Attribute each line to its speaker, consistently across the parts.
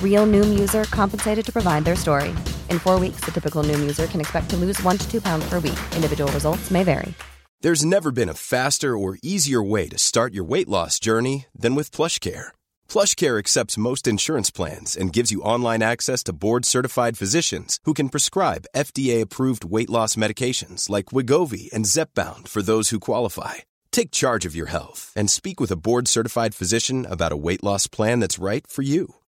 Speaker 1: Real Noom user compensated to provide their story. In four weeks, the typical Noom user can expect to lose one to two pounds per week. Individual results may vary.
Speaker 2: There's never been a faster or easier way to start your weight loss journey than with PlushCare. PlushCare accepts most insurance plans and gives you online access to board-certified physicians who can prescribe FDA-approved weight loss medications like Wigovi and Zepbound for those who qualify. Take charge of your health and speak with a board-certified physician about a weight loss plan that's right for you.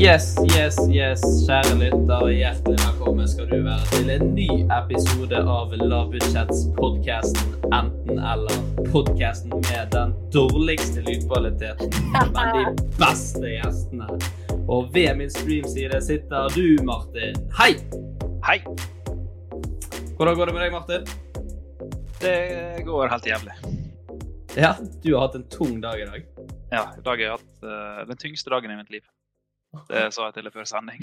Speaker 3: Yes, yes, yes, kjære lytter, hjertelig velkommen skal du være til en ny episode av Lavbudsjettspodkasten Enten eller. Podkasten med den dårligste lydkvaliteten, men de beste gjestene. Og ved min streamside sitter du, Martin. Hei!
Speaker 4: Hei.
Speaker 3: Hvordan går det med deg, Martin?
Speaker 4: Det går helt jævlig.
Speaker 3: Ja, du har hatt en tung dag i dag.
Speaker 4: Ja, i dag har jeg hatt eh, den tyngste dagen i mitt liv. Det sa jeg til deg før sending.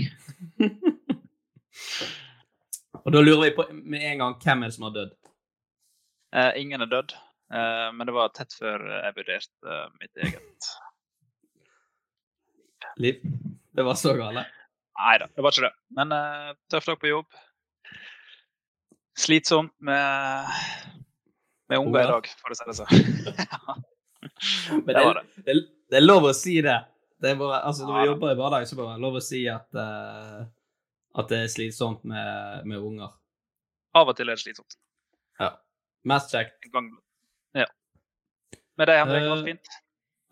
Speaker 3: Og da lurer vi på med en gang hvem er det som har dødd.
Speaker 4: Eh, ingen er dødd, eh, men det var tett før jeg vurderte eh, mitt eget.
Speaker 3: Liv? Det var så gale.
Speaker 4: Nei da, det var ikke det. Men eh, tøff dag på jobb. Slitsomt med, med unger i dag, for å si det sånn.
Speaker 3: Men
Speaker 4: Det var
Speaker 3: det, det, det er lov å si det. det er bare, altså, når
Speaker 4: Ja
Speaker 3: vi
Speaker 4: da.
Speaker 3: jobber i hverdag, så må det være lov å si at, eh, at det er slitsomt med, med unger.
Speaker 4: Av og til er det slitsomt.
Speaker 3: Mest kjekt.
Speaker 4: En gang. Ja. Men det Henrik,
Speaker 3: Eh,
Speaker 4: alt fint?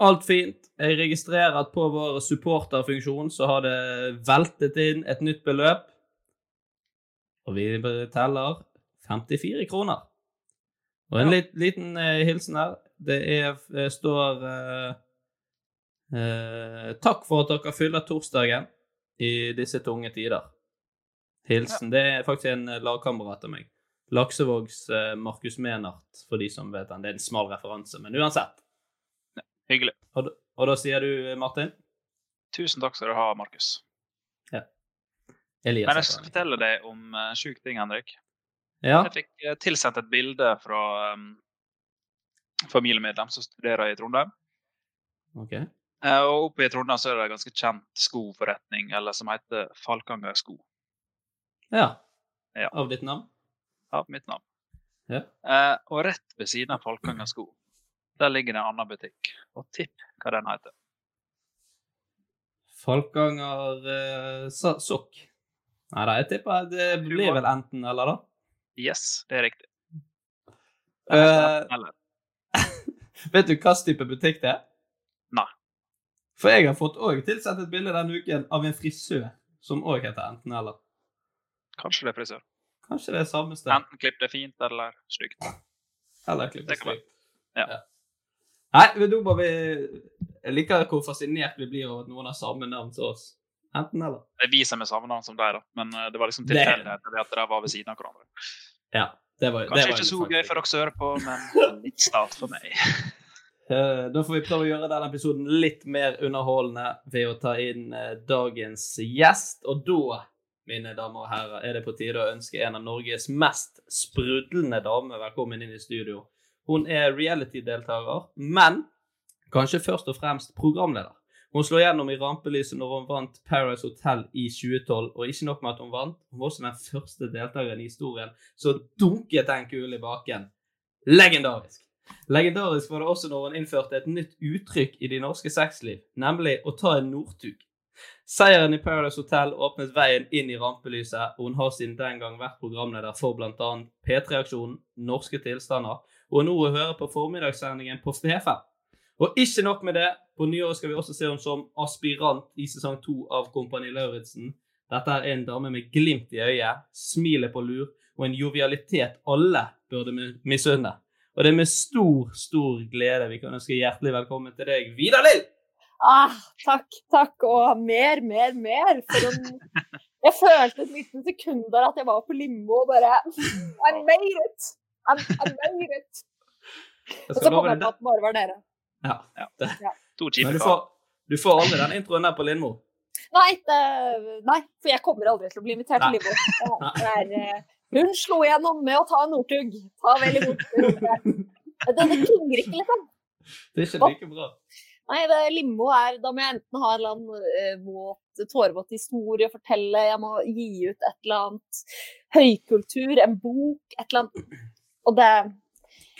Speaker 3: Alt fint. Jeg registrerer at på vår supporterfunksjon så har det veltet inn et nytt beløp. Og vi teller 54 kroner. Og en
Speaker 4: Ja.
Speaker 3: lit, liten eh, hilsen her. Det er, eh, står eh, eh, Takk for at dere fyller torsdagen i disse tunge tider. Hilsen. Det er faktisk en eh, lagkamerat av meg. Laksevågs eh, Markus Menart, for de som vet han. Det er en smal referanse, men uansett.
Speaker 4: Hyggelig.
Speaker 3: Og, da- og da sier du, eh, Martin?
Speaker 4: Tusen takk skal du ha, Markus.
Speaker 3: Elias.
Speaker 4: Men jeg
Speaker 3: heter
Speaker 4: skal
Speaker 3: han.
Speaker 4: fortelle deg om eh, en sjuk ting, Henrik.
Speaker 3: Ja.
Speaker 4: Jeg fikk eh, tilsendt et bilde fra um, familiemedlem som studerer i Trondheim.
Speaker 3: Ok.
Speaker 4: Eh, og oppe i Trondheim så er det en ganske kjent skoforretning eller som heter Falkanger sko.
Speaker 3: Ja.
Speaker 4: Ja.
Speaker 3: Av ditt navn?
Speaker 4: Ja, mitt navn.
Speaker 3: Ja.
Speaker 4: Eh, og rett ved siden av Falkanger sko, der ligger det en annen butikk. Og tipp hva den heter.
Speaker 3: Falkanger eh, sa- sokk. Nei da, jeg tipper det blir vel enten eller, da.
Speaker 4: Yes, det er riktig.
Speaker 3: Eh,
Speaker 4: Eller
Speaker 3: vet du hvilken type butikk det er?
Speaker 4: Nei.
Speaker 3: For jeg har fått òg tilsendt et bilde denne uken av en frisør som òg heter enten eller.
Speaker 4: kanskje det er frisør.
Speaker 3: Kanskje det er samme sted.
Speaker 4: Enten klipp det fint eller stygt.
Speaker 3: Eller klippes
Speaker 4: Det kan være.
Speaker 3: ut.
Speaker 4: Ja.
Speaker 3: Nei, men da må vi Jeg liker hvor fascinert vi blir over at noen har samme navn som oss. Enten eller.
Speaker 4: Det viser meg samme navn som deg, da, men eh, det var liksom
Speaker 3: Det-
Speaker 4: tilfeldigheter ved at de var ved siden av hverandre.
Speaker 3: Ja. Det var, det
Speaker 4: Kanskje
Speaker 3: var
Speaker 4: ikke
Speaker 3: jo
Speaker 4: så gøy
Speaker 3: faktisk-
Speaker 4: for dere som hører på, men litt stas for meg.
Speaker 3: Eh, Da får vi prøve å gjøre denne episoden litt mer underholdende ved å ta inn eh, dagens gjest. Og da, mine damer og herrer, er det på tide å ønske en av Norges mest sprudlende damer velkommen inn i studio. Hun er reality-deltaker, men kanskje først og fremst programleder. Hun slo gjennom i rampelyset når hun vant Paradise Hotel i 2012. Og ikke nok med at hun vant, hun var også den første deltakeren i historien som dunket den kulen i baken. Legendarisk! Legendarisk var det også når hun innførte et nytt uttrykk i de norske sexliv, nemlig å ta en Northug. Seieren i Paradise Hotel åpnet veien inn i rampelyset, og hun har siden den gang vært programleder for bl.a. P3-aksjonen, Norske tilstander, og nå hører på formiddagssendingen på P5. Og ikke nok med det, på nyåret skal vi også se henne som aspirant i sesong to av Kompani Lauritzen. Dette er en dame med glimt i øyet, smilet på lur og en jovialitet alle burde mi- misunne. Og det er med stor, stor glede vi kan ønske hjertelig velkommen til deg, Vidar Lill!
Speaker 5: Ah, takk, takk, og mer, mer, mer. For en... Jeg følte et lite sekund der at jeg var på limbo og bare I made it! I, I made it!
Speaker 3: Jeg
Speaker 5: Og
Speaker 3: skal
Speaker 5: så
Speaker 3: love
Speaker 5: kom
Speaker 3: deg
Speaker 5: jeg på
Speaker 3: det.
Speaker 5: at det bare var dere.
Speaker 3: Ja. det.
Speaker 4: To
Speaker 3: Men
Speaker 4: kjipe
Speaker 3: du
Speaker 4: karer.
Speaker 3: får, du får aldri den introen der på Lindmo.
Speaker 5: Nei, det, nei, for jeg kommer aldri til å bli invitert
Speaker 3: Nei.
Speaker 5: til limbo. Det er, eh, hun slo igjennom med å ta en Northug. Ta vel imot. Det, det klinger ikke, liksom.
Speaker 3: Det er ikke like bra.
Speaker 5: Nei, det limbo er Da må jeg enten ha en eller annen eh, våt, tårevåt historie å fortelle, jeg må gi ut et eller annet høykultur, en bok, et eller annet. Og det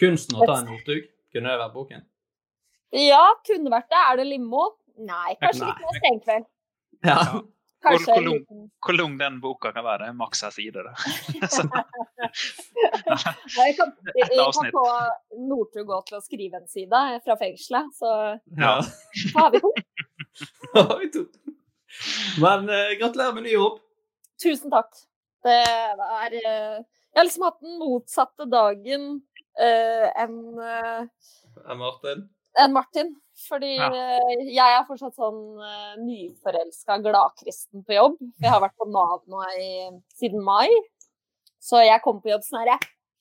Speaker 3: Kunsten å ta en Northug, kunne det vært boken?
Speaker 5: Ja, kunne vært det. Er det limbo? Nei, kanskje litt mer senkveld.
Speaker 3: Ja.
Speaker 4: Hvor-
Speaker 5: Kanskje
Speaker 4: hvor
Speaker 5: en
Speaker 4: lang-
Speaker 5: liten-
Speaker 4: Hvor lang den boka kan være, det er maks ei side. det. Så,
Speaker 5: Nei, Jeg kan, jeg jeg kan
Speaker 4: avsnitt.
Speaker 5: få Northug gå til å skrive en side fra fengselet, så
Speaker 3: ja.
Speaker 5: da har vi to.
Speaker 3: Oi, to. Men eh, gratulerer med ny jobb.
Speaker 5: Tusen takk. Det er eh, Jeg har liksom hatt den motsatte dagen eh, enn eh,
Speaker 3: Ja, Martin.
Speaker 5: enn Martin. Fordi
Speaker 4: Ja.
Speaker 5: eh, jeg er fortsatt sånn uh, nyforelska gladkristen på jobb. Jeg har vært på Nav nå i, siden mai, så jeg kom på jobb sånn her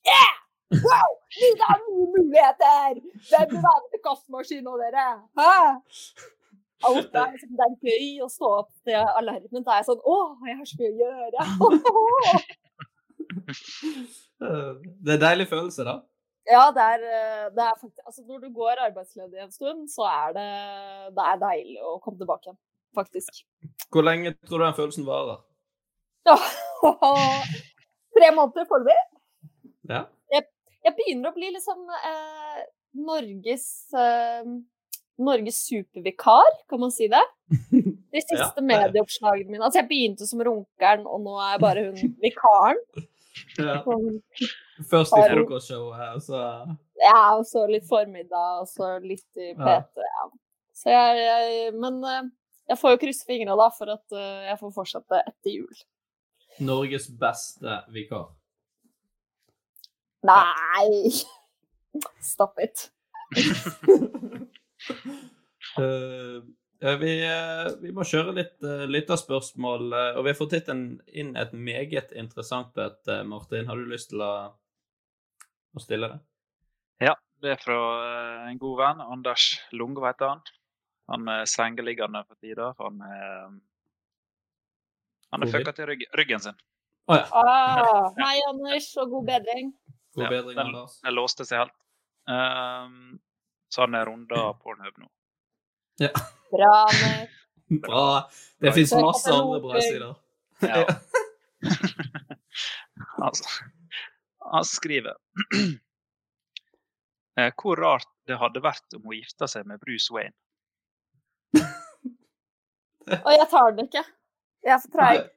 Speaker 5: yeah! Wow! Det er nye muligheter! Hvem vil være med til kaffemaskinen, dere? Hæ? Alt er, liksom, det er gøy å stå opp til alarmen. Da er jeg sånn Å, jeg har så mye å gjøre.
Speaker 3: Eh, Det er en deilig følelse, da.
Speaker 5: Ja, det er, eh, det er faktisk Altså, når du går arbeidsledig en stund, så er det, det er deilig å komme tilbake igjen, faktisk.
Speaker 3: Hvor lenge tror du den følelsen varer?
Speaker 5: Ja. Tre måneder foreløpig.
Speaker 3: Ja.
Speaker 5: Jeg begynner å bli liksom eh, Norges eh, Norges supervikar, kan man si det? De siste
Speaker 3: Ja, det er det.
Speaker 5: medieoppslagene mine. Altså, jeg begynte som runkeren, og nå er jeg bare hun vikaren.
Speaker 3: ja.
Speaker 5: Sånn,
Speaker 3: Først i
Speaker 5: Har du-
Speaker 3: frokostshowet, og så
Speaker 5: Ja, og så litt formiddag, og så litt i
Speaker 3: Ja.
Speaker 5: PT. Ja. Så jeg, jeg Men eh, jeg får jo krysse fingra, da, for at eh, jeg får fortsette etter jul.
Speaker 3: Norges beste vikar.
Speaker 5: Nei! Stop it.
Speaker 3: Eh, eh, vi, eh, vi må kjøre litt uh, lytterspørsmål, eh, og vi har fått hit en, inn et meget interessant et, eh, Martin. Har du lyst til å, å stille det?
Speaker 4: Det er fra eh, en god venn, Anders Lungo heter han. Han er sengeliggende for tida. for Han er, eh, han er
Speaker 3: Covid.
Speaker 4: fucka til rygg, ryggen sin.
Speaker 3: Å ja.
Speaker 5: Ah, hei, Anders, og god bedring.
Speaker 3: God
Speaker 4: Ja,
Speaker 3: bedring,
Speaker 4: den-
Speaker 3: Anders.
Speaker 4: Den låste seg helt. Ehm, så han er runda Pornhub nå.
Speaker 5: Bra, Anders.
Speaker 3: Bra. Det fins
Speaker 5: Søk opp
Speaker 3: masse
Speaker 5: en
Speaker 3: andre bra
Speaker 5: oppbygging.
Speaker 3: sider.
Speaker 4: Ja. altså, han skriver eh, Hvor rart det hadde vært om hun gifta seg med Bruce Wayne.
Speaker 5: Og jeg tar den ikke. Jeg er for treig.
Speaker 3: Det-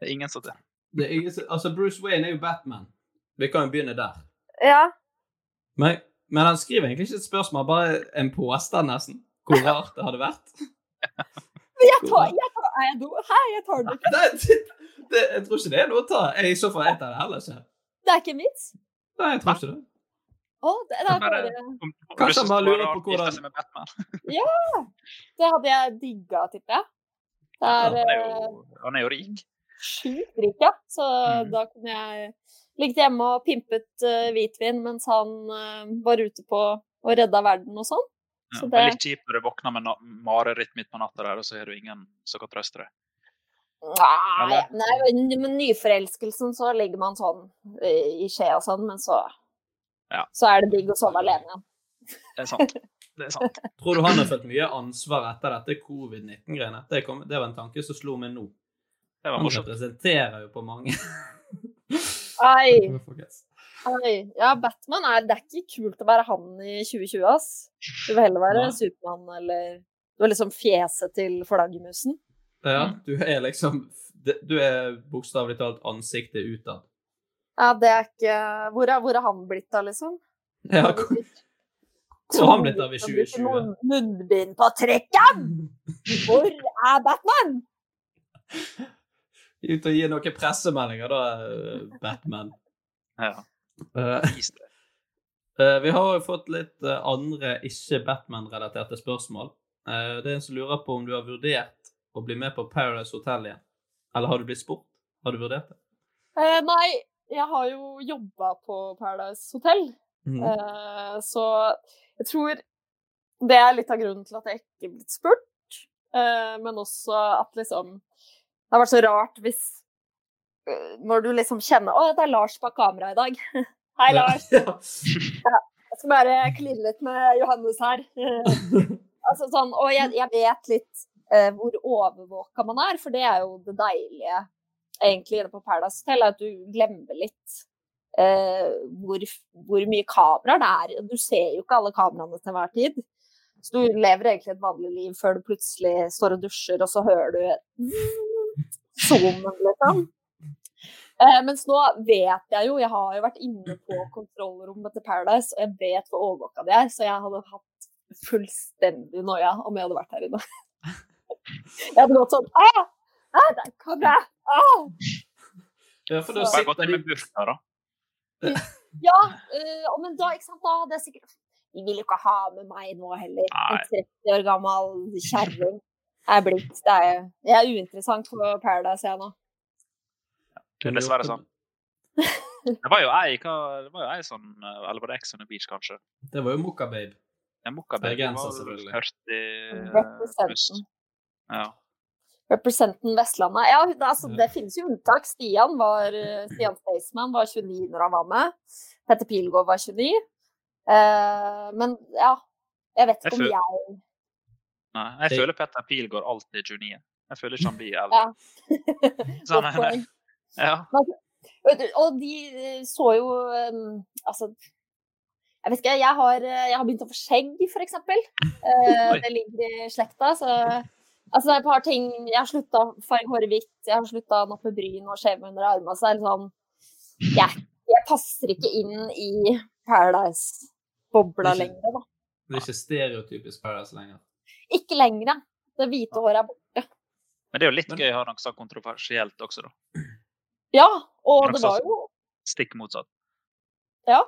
Speaker 4: Det er ingen som til.
Speaker 3: det er ingen som- altså, Bruce Wayne er jo Batman. Vi kan jo begynne der.
Speaker 5: Ja.
Speaker 3: Men, men han skriver egentlig ikke et spørsmål, bare en påstand, nesten. Hvor rart det hadde vært.
Speaker 5: Men jeg tar, jeg tar, er jeg do? Hei, jeg tar den ikke.
Speaker 3: Nei, det, det, jeg tror ikke det er noe å ta. Jeg, I så fall jeg tar det heller ikke.
Speaker 5: Det er ikke en vits.
Speaker 3: Nei, jeg tror ikke det.
Speaker 5: Å, det, det, er bare,
Speaker 4: Om- om
Speaker 3: Kanskje
Speaker 4: du
Speaker 3: han bare
Speaker 4: synes det var
Speaker 3: lurer på
Speaker 4: rart å gifte
Speaker 3: hvordan-
Speaker 4: seg med Batman.
Speaker 5: det hadde jeg digga, tipper jeg. Det
Speaker 4: Han
Speaker 5: er
Speaker 4: er
Speaker 5: eh,
Speaker 4: jo, han er jo rik.
Speaker 5: sjukt rik, ja. Så
Speaker 4: Mhm.
Speaker 5: da kunne jeg ligget hjemme og pimpet eh, hvitvin mens han eh, var ute på og redda verden og sånn.
Speaker 4: Ja,
Speaker 5: Så
Speaker 4: det er
Speaker 5: det-
Speaker 4: litt kjipt når du våkner med na- mareritt midt på natta, der, og så har du ingen som kan trøste deg.
Speaker 5: Nei,
Speaker 4: Eller?
Speaker 5: nei, men med nyforelskelsen så ligger man sånn eh, i skje og sånn, men så
Speaker 4: Ja.
Speaker 5: Så er det digg å sove alene igjen.
Speaker 4: Det er sant. Det er sant.
Speaker 3: Tror du han har følt mye ansvar etter dette covid-19-greiene? Det, kom- det var en tanke som slo meg nå.
Speaker 4: Det var
Speaker 3: Han
Speaker 4: morsomt.
Speaker 3: representerer jo på mange.
Speaker 5: Ai,
Speaker 3: Folkens.
Speaker 5: ai. Ja, Batman er Det er ikke kult å være han i 2020, ass. Du vil heller være
Speaker 3: Nei.
Speaker 5: Supermann eller Du er liksom fjeset til flaggermusen.
Speaker 3: Ja,
Speaker 4: Mm.
Speaker 3: du er liksom Du er bokstavelig talt ansiktet utad.
Speaker 5: Ja, det er ikke Hvor er, hvor er han blitt av, liksom?
Speaker 3: Ja, kom- Hvor har han blitt av i 2020?
Speaker 5: Noen munnbind på trekken! Hvor er Batman?
Speaker 3: ut og gi noen pressemeldinger, da, eh, Batman.
Speaker 4: Ja,
Speaker 3: Eh,
Speaker 4: vis det.
Speaker 3: Eh, vi har jo fått litt eh, andre ikke-Batman-relaterte spørsmål. Eh, det er en som lurer på om du har vurdert å bli med på Paradise Hotel igjen. Eller har du blitt spurt? Har du vurdert det?
Speaker 5: Eh, nei, jeg har jo jobba på Paradise Hotel,
Speaker 3: Mm.
Speaker 5: eh, så jeg tror det er litt av grunnen til at jeg ikke er blitt spurt. Eh, men også at liksom Det har vært så rart hvis eh, Når du liksom kjenner Å, det er Lars bak kamera i dag. Hei, Lars.
Speaker 3: Ja.
Speaker 5: Jeg skal bare kline litt med Johannes her. altså, sånn, og jeg, jeg vet litt eh, hvor overvåka man er, for det er jo det deilige egentlig inne på Paradise Hotel, er at du glemmer litt eh, hvor, hvor mye kameraer det er. Du ser jo ikke alle kameraene til enhver tid. Så du lever egentlig et vanlig liv før du plutselig står og dusjer, og så hører du zoomen, liksom. Eh, mens nå vet jeg jo, jeg har jo vært inne på kontrollrommet til Paradise, og jeg vet hvor overvåka de er, så jeg hadde hatt fullstendig noia om jeg hadde vært her inne. jeg hadde gått sånn Å! Ah, der kom det! Ah!
Speaker 3: ja, for da
Speaker 4: Bare gått
Speaker 3: sitter
Speaker 4: inn med burka, da.
Speaker 5: Ja, eh, og men da, ikke sant, da hadde jeg sikkert De vil jo ikke ha med meg nå heller. En 30 år gammel kjerring er blitt det er, Jeg er uinteressant på Paradise, jeg nå.
Speaker 3: de
Speaker 4: dessverre sånn. Det var jo ei, hva, det var jo ei sånn Eller var det Ex on the Beach, kanskje?
Speaker 3: Det var jo Mokka Babe.
Speaker 4: Det er Mokkaberg.
Speaker 3: Bergenser, selvfølgelig.
Speaker 4: 40 pluss.
Speaker 5: Representen.
Speaker 4: Ja.
Speaker 5: Representen Vestlandet. Ja, det, altså,
Speaker 3: Ja.
Speaker 5: det finnes jo unntak. Stian var, eh, Stian Staysman var 29 når han var med. Petter Pilgaard var 29. Eh, men ja, jeg vet
Speaker 4: Jeg
Speaker 5: ikke om
Speaker 4: føl-
Speaker 5: jeg
Speaker 4: Nei, jeg
Speaker 3: Det-
Speaker 4: føler Petter Pilgaard alltid er 29. Jeg føler ikke han blir eldre. Så
Speaker 5: Godt
Speaker 4: han er-
Speaker 5: poeng.
Speaker 4: Ja.
Speaker 5: Og og de eh, så jo eh, Altså Jeg vet ikke, jeg har, eh, jeg har begynt å få skjegg, for eksempel. Eh,
Speaker 4: Oi.
Speaker 5: det ligger i slekta, så Altså, det er et par ting Jeg har slutta å farge håret hvitt, jeg har slutta å nappe bryn og skjeve under armene, så det er litt sånn Jeg, jeg passer ikke inn i Paradise-bobla
Speaker 3: Det er ikke-
Speaker 5: lenger, da.
Speaker 3: Det er ikke stereotypisk Paradise lenger.
Speaker 5: Ikke lenger, ja. Det hvite håret er borte.
Speaker 4: Men det er jo litt
Speaker 3: Men-
Speaker 4: gøy å ha noe sånn kontroversielt også, da.
Speaker 5: Ja, og
Speaker 4: Men
Speaker 5: det
Speaker 4: også-
Speaker 5: var jo
Speaker 4: Stikk motsatt.
Speaker 5: Ja.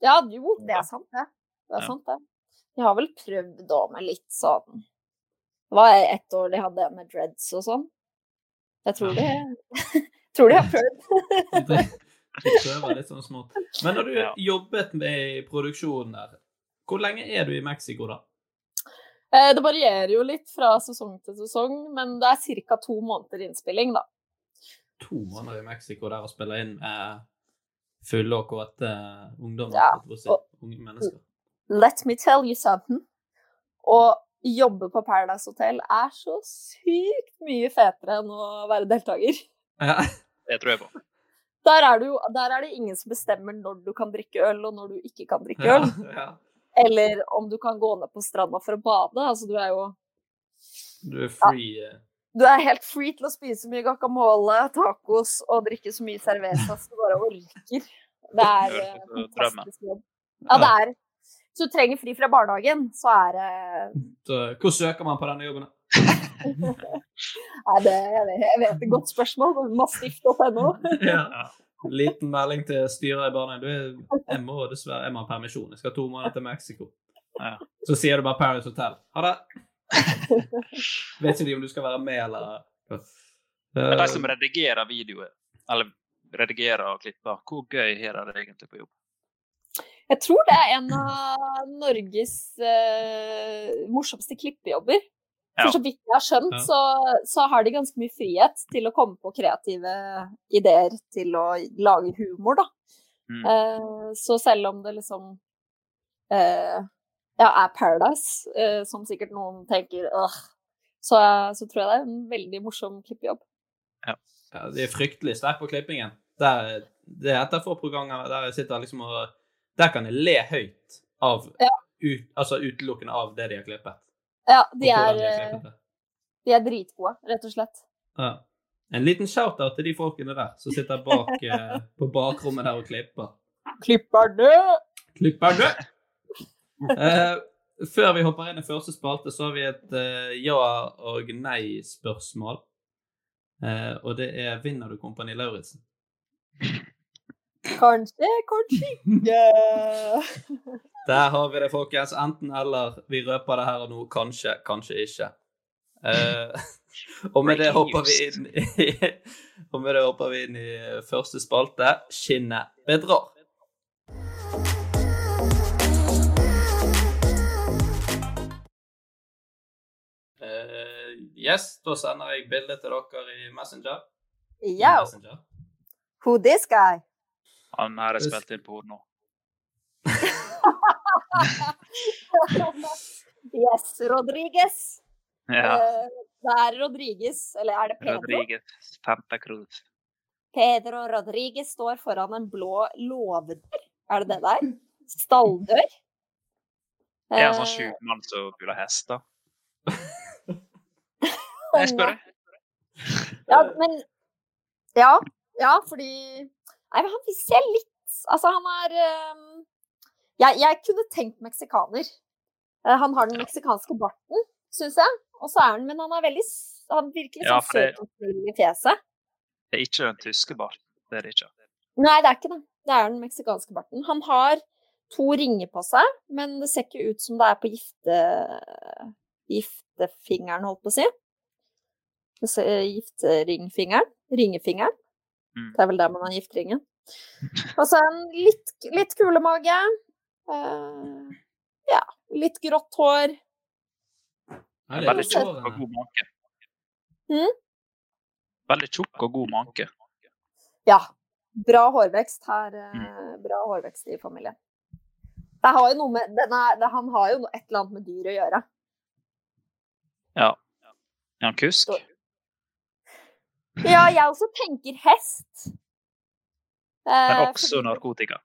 Speaker 5: ja, jo, det er sant, det. Det er
Speaker 4: Ja.
Speaker 5: sant, det. De har vel prøvd da med litt sånn Det var ett år de hadde med dreads og sånn. Jeg tror de Tror de har prøvd.
Speaker 3: De driver- de prøver litt sånn smått. Men når du
Speaker 4: Ja.
Speaker 3: jobbet med i produksjonen der, hvor lenge er du i Mexico da?
Speaker 5: Eh, Det varierer jo litt fra sesong til sesong, men det er ca. to måneder innspilling, da.
Speaker 3: to måneder i Mexico der og spille inn med fulle og kåte eh, ungdommer.
Speaker 5: Ja,
Speaker 3: holdt jeg på å si.
Speaker 5: og-
Speaker 3: Unge mennesker.
Speaker 5: Let me tell you something. Å jobbe på Paradise Hotel er så sykt mye fetere enn å være deltaker.
Speaker 3: Ja.
Speaker 4: Det tror jeg på.
Speaker 5: Der er, det jo, der er det ingen som bestemmer når du kan drikke øl, og når du ikke kan drikke øl.
Speaker 3: ja.
Speaker 5: Eller om du kan gå ned på stranda for å bade. Altså, du er jo
Speaker 3: Du er free. eh.
Speaker 5: du er helt free til å spise så mye guacamole, tacos og drikke så mye cerveza som du bare orker. Det er eh,
Speaker 4: Høres ut som
Speaker 5: fantastisk jobb. Ja, det er Hvis du trenger fri fra barnehagen, så er eh, det
Speaker 3: Så, hvor søker man på denne jobben? da?
Speaker 5: er det jeg vet- Jeg vet et godt spørsmål. Mastiff.no.
Speaker 3: Ja. Liten melding til styret i barnehagen. Du, er- jeg må dessverre jeg må ha permisjon. Jeg skal to måneder til Mexico.
Speaker 4: Ja.
Speaker 3: Så sier du bare Paris Hotel. Ha det! Vet ikke de om du skal være med eller
Speaker 4: Men de som redigerer videoer, eller redigerer og klipper, hvor gøy har de det egentlig på jobb?
Speaker 5: Jeg tror det er en av Norges eh, morsomste klippejobber.
Speaker 4: Ja.
Speaker 5: For så vidt jeg har skjønt,
Speaker 3: Ja.
Speaker 5: så, så har de ganske mye frihet til å komme på kreative ideer til å lage humor, da.
Speaker 4: Mm.
Speaker 5: Eh, så selv om det liksom eh, ja, er Paradise, eh, som sikkert noen tenker åh. Så, så tror jeg det er en veldig morsom klippejobb.
Speaker 3: Ja, de er fryktelig sterke på klippingen. Der, det er et av få programmer der jeg sitter liksom og Der kan jeg le høyt av
Speaker 5: Ja.
Speaker 3: ut, Altså utelukkende av det de har klippet.
Speaker 5: Ja,
Speaker 3: og
Speaker 5: de
Speaker 3: hvordan
Speaker 5: er,
Speaker 3: har
Speaker 5: eh,
Speaker 3: klippet det.
Speaker 5: de er dritgode, rett og slett.
Speaker 3: Ja. En liten shout-out til de folkene der som sitter bak eh, på bakrommet der og klipper.
Speaker 5: Klipper død!
Speaker 3: Klipper du? Eh, før vi hopper inn i første spalte, så har vi et eh, ja- og nei-spørsmål. Eh, og det er vinner du Kompani Lauritzen?
Speaker 5: Kanskje, kanskje ikke.
Speaker 3: Der har vi det, folkens. Enten eller. Vi røper det her og nå. Kanskje, kanskje ikke. Eh, og med det hopper vi inn i, og med det hopper vi inn i eh, første spalte. Skinnet bedrar. Eh, yes, da sender jeg bildet til dere i Messenger.
Speaker 5: Yo,
Speaker 3: Messenger.
Speaker 5: who this guy?
Speaker 4: Han her er
Speaker 3: Hvis-
Speaker 4: spilt inn porno.
Speaker 5: yes, Rodriguez.
Speaker 4: Ja.
Speaker 5: Eh, Det er Rodriguez, eller er det Pedro?
Speaker 4: Rodriguez Santa Cruz.
Speaker 5: Pedro Rodriguez står foran en blå låvedør. Er det det der? Stalldør?
Speaker 4: Er han
Speaker 5: Eh,
Speaker 4: sånn sjuk mann som puler hester?
Speaker 5: Eh,
Speaker 4: Jeg spør deg.
Speaker 5: Ja,
Speaker 4: Eh.
Speaker 5: men Ja, ja fordi Nei, men han ser litt Altså, han er ehm, jeg, jeg kunne tenkt meksikaner. Eh, han har den meksikanske barten, syns jeg. Og så er han Men han er veldig s- Han virker litt
Speaker 4: Ja,
Speaker 5: sånn
Speaker 4: for det-
Speaker 5: søt og snill i fjeset.
Speaker 4: Det er ikke den tyske barten. Det er det ikke.
Speaker 5: Nei, det er ikke det. Det er den meksikanske barten. Han har to ringer på seg, men det ser ikke ut som det er på gifte... giftefingeren, holdt på å si. Det ser- eh, Gifteringfingeren. Ringefingeren.
Speaker 4: Mm.
Speaker 5: Det er vel der man har gifteringen. Og så en litt, litt kulemage. eh, ja, litt grått hår.
Speaker 3: Ja, det er sånn.
Speaker 4: Veldig
Speaker 3: jo
Speaker 4: tjukk
Speaker 3: sårende.
Speaker 4: og god manke.
Speaker 5: Mm?
Speaker 4: Veldig tjukk og god manke.
Speaker 5: Ja. Bra hårvekst her. eh, Bra hårvekst i familien. Det har jo noe med, den er, det, han har jo noe- et eller annet med dyr å gjøre.
Speaker 4: Er han kusk?
Speaker 5: Da- Ja, jeg også tenker hest.
Speaker 4: Det
Speaker 5: Eh,
Speaker 4: er også narkotika.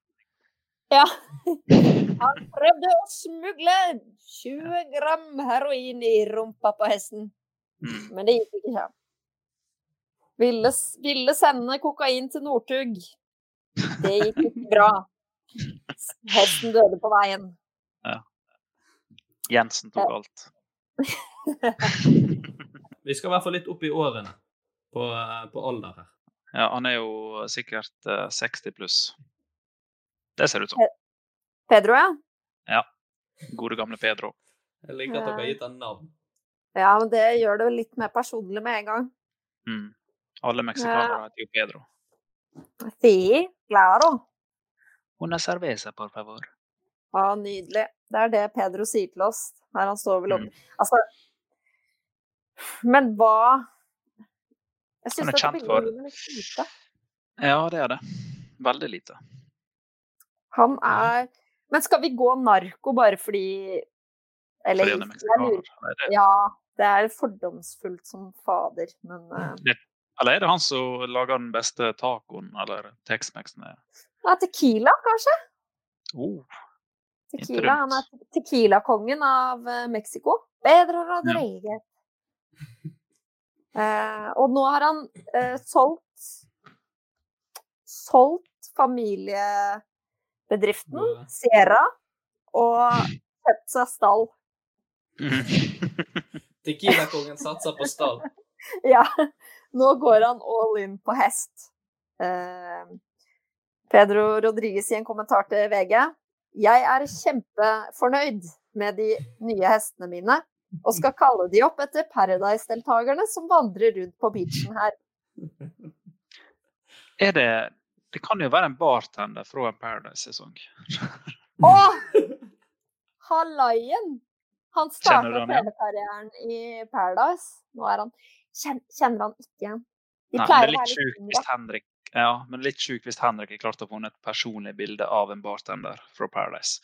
Speaker 5: Han prøvde å smugle 20 gram heroin i rumpa på hesten,
Speaker 4: Mm.
Speaker 5: men det gikk ikke. Ville, s- ville sende kokain til Northug. Det gikk ikke bra. Hesten døde på veien.
Speaker 4: Jensen tok alt.
Speaker 3: Vi skal i hvert fall litt opp i årene på, eh, på alder her.
Speaker 4: Ja, han er jo sikkert eh, 60 pluss. Det ser det ut som.
Speaker 5: Pedro, ja?
Speaker 4: Gode, gamle Pedro.
Speaker 3: Jeg liker at dere har
Speaker 5: Ja.
Speaker 3: gitt han navn.
Speaker 5: Ja, men det gjør det litt mer personlig med en gang.
Speaker 4: Mm. Alle meksikanere heter jo Pedro.
Speaker 5: Si, claro.
Speaker 4: Una cerveza, por favor.
Speaker 5: Ja, nydelig. Det er det Pedro sier til oss når han står ved lobby.
Speaker 4: Mm.
Speaker 5: Altså Men hva Jeg
Speaker 4: Han
Speaker 5: syns
Speaker 4: er
Speaker 5: dette
Speaker 4: kjent
Speaker 5: bildet
Speaker 4: for-
Speaker 5: gir meg litt lite.
Speaker 4: Ja, det er det. Veldig lite.
Speaker 5: Han er
Speaker 4: Mm.
Speaker 5: Men skal vi gå narko bare fordi Eller
Speaker 4: Fordi han er
Speaker 5: ikke, jeg lurer.
Speaker 4: meksikaner. Nei, det-
Speaker 5: Ja, det er fordomsfullt som fader, men
Speaker 4: Mm.
Speaker 5: eh,
Speaker 4: Eller er det han som lager den beste tacoen, eller Tex-Mexen? er-
Speaker 5: ja, Tequila, kanskje?
Speaker 4: Oh,
Speaker 5: Tequila, han er tequila-kongen av eh, Mexico. Pedro Rodriguez. Eh, og nå har han eh, solgt solgt familiebedriften
Speaker 3: Bare.
Speaker 5: Sierra og kjøpt seg stall.
Speaker 4: Mm.
Speaker 3: Tequila-kongen satser på stall.
Speaker 5: Ja, nå går han all in på hest. Eh, Pedro Rodriguez i en kommentar til VG. Jeg er kjempefornøyd med de nye hestene mine, og skal kalle de opp etter Paradise-deltakerne som vandrer rundt på beachen her.
Speaker 4: er det Det kan jo være en bartender fra en Paradise-sesong.
Speaker 5: Å! Hallaien!
Speaker 4: Kjenner
Speaker 5: Han
Speaker 4: du
Speaker 5: starta
Speaker 4: han igjen?
Speaker 5: TV-karrieren i Paradise. Nå er han Kjen- Kjenner han ikke igjen? De
Speaker 4: Nei, men det
Speaker 5: pleier
Speaker 4: er
Speaker 5: å
Speaker 4: litt
Speaker 5: være litt
Speaker 4: sjukt
Speaker 5: yngre.
Speaker 4: hvis Henrik ja, men det er litt sjukt hvis Henrik har klart å få et personlig bilde av en bartender fra Paradise.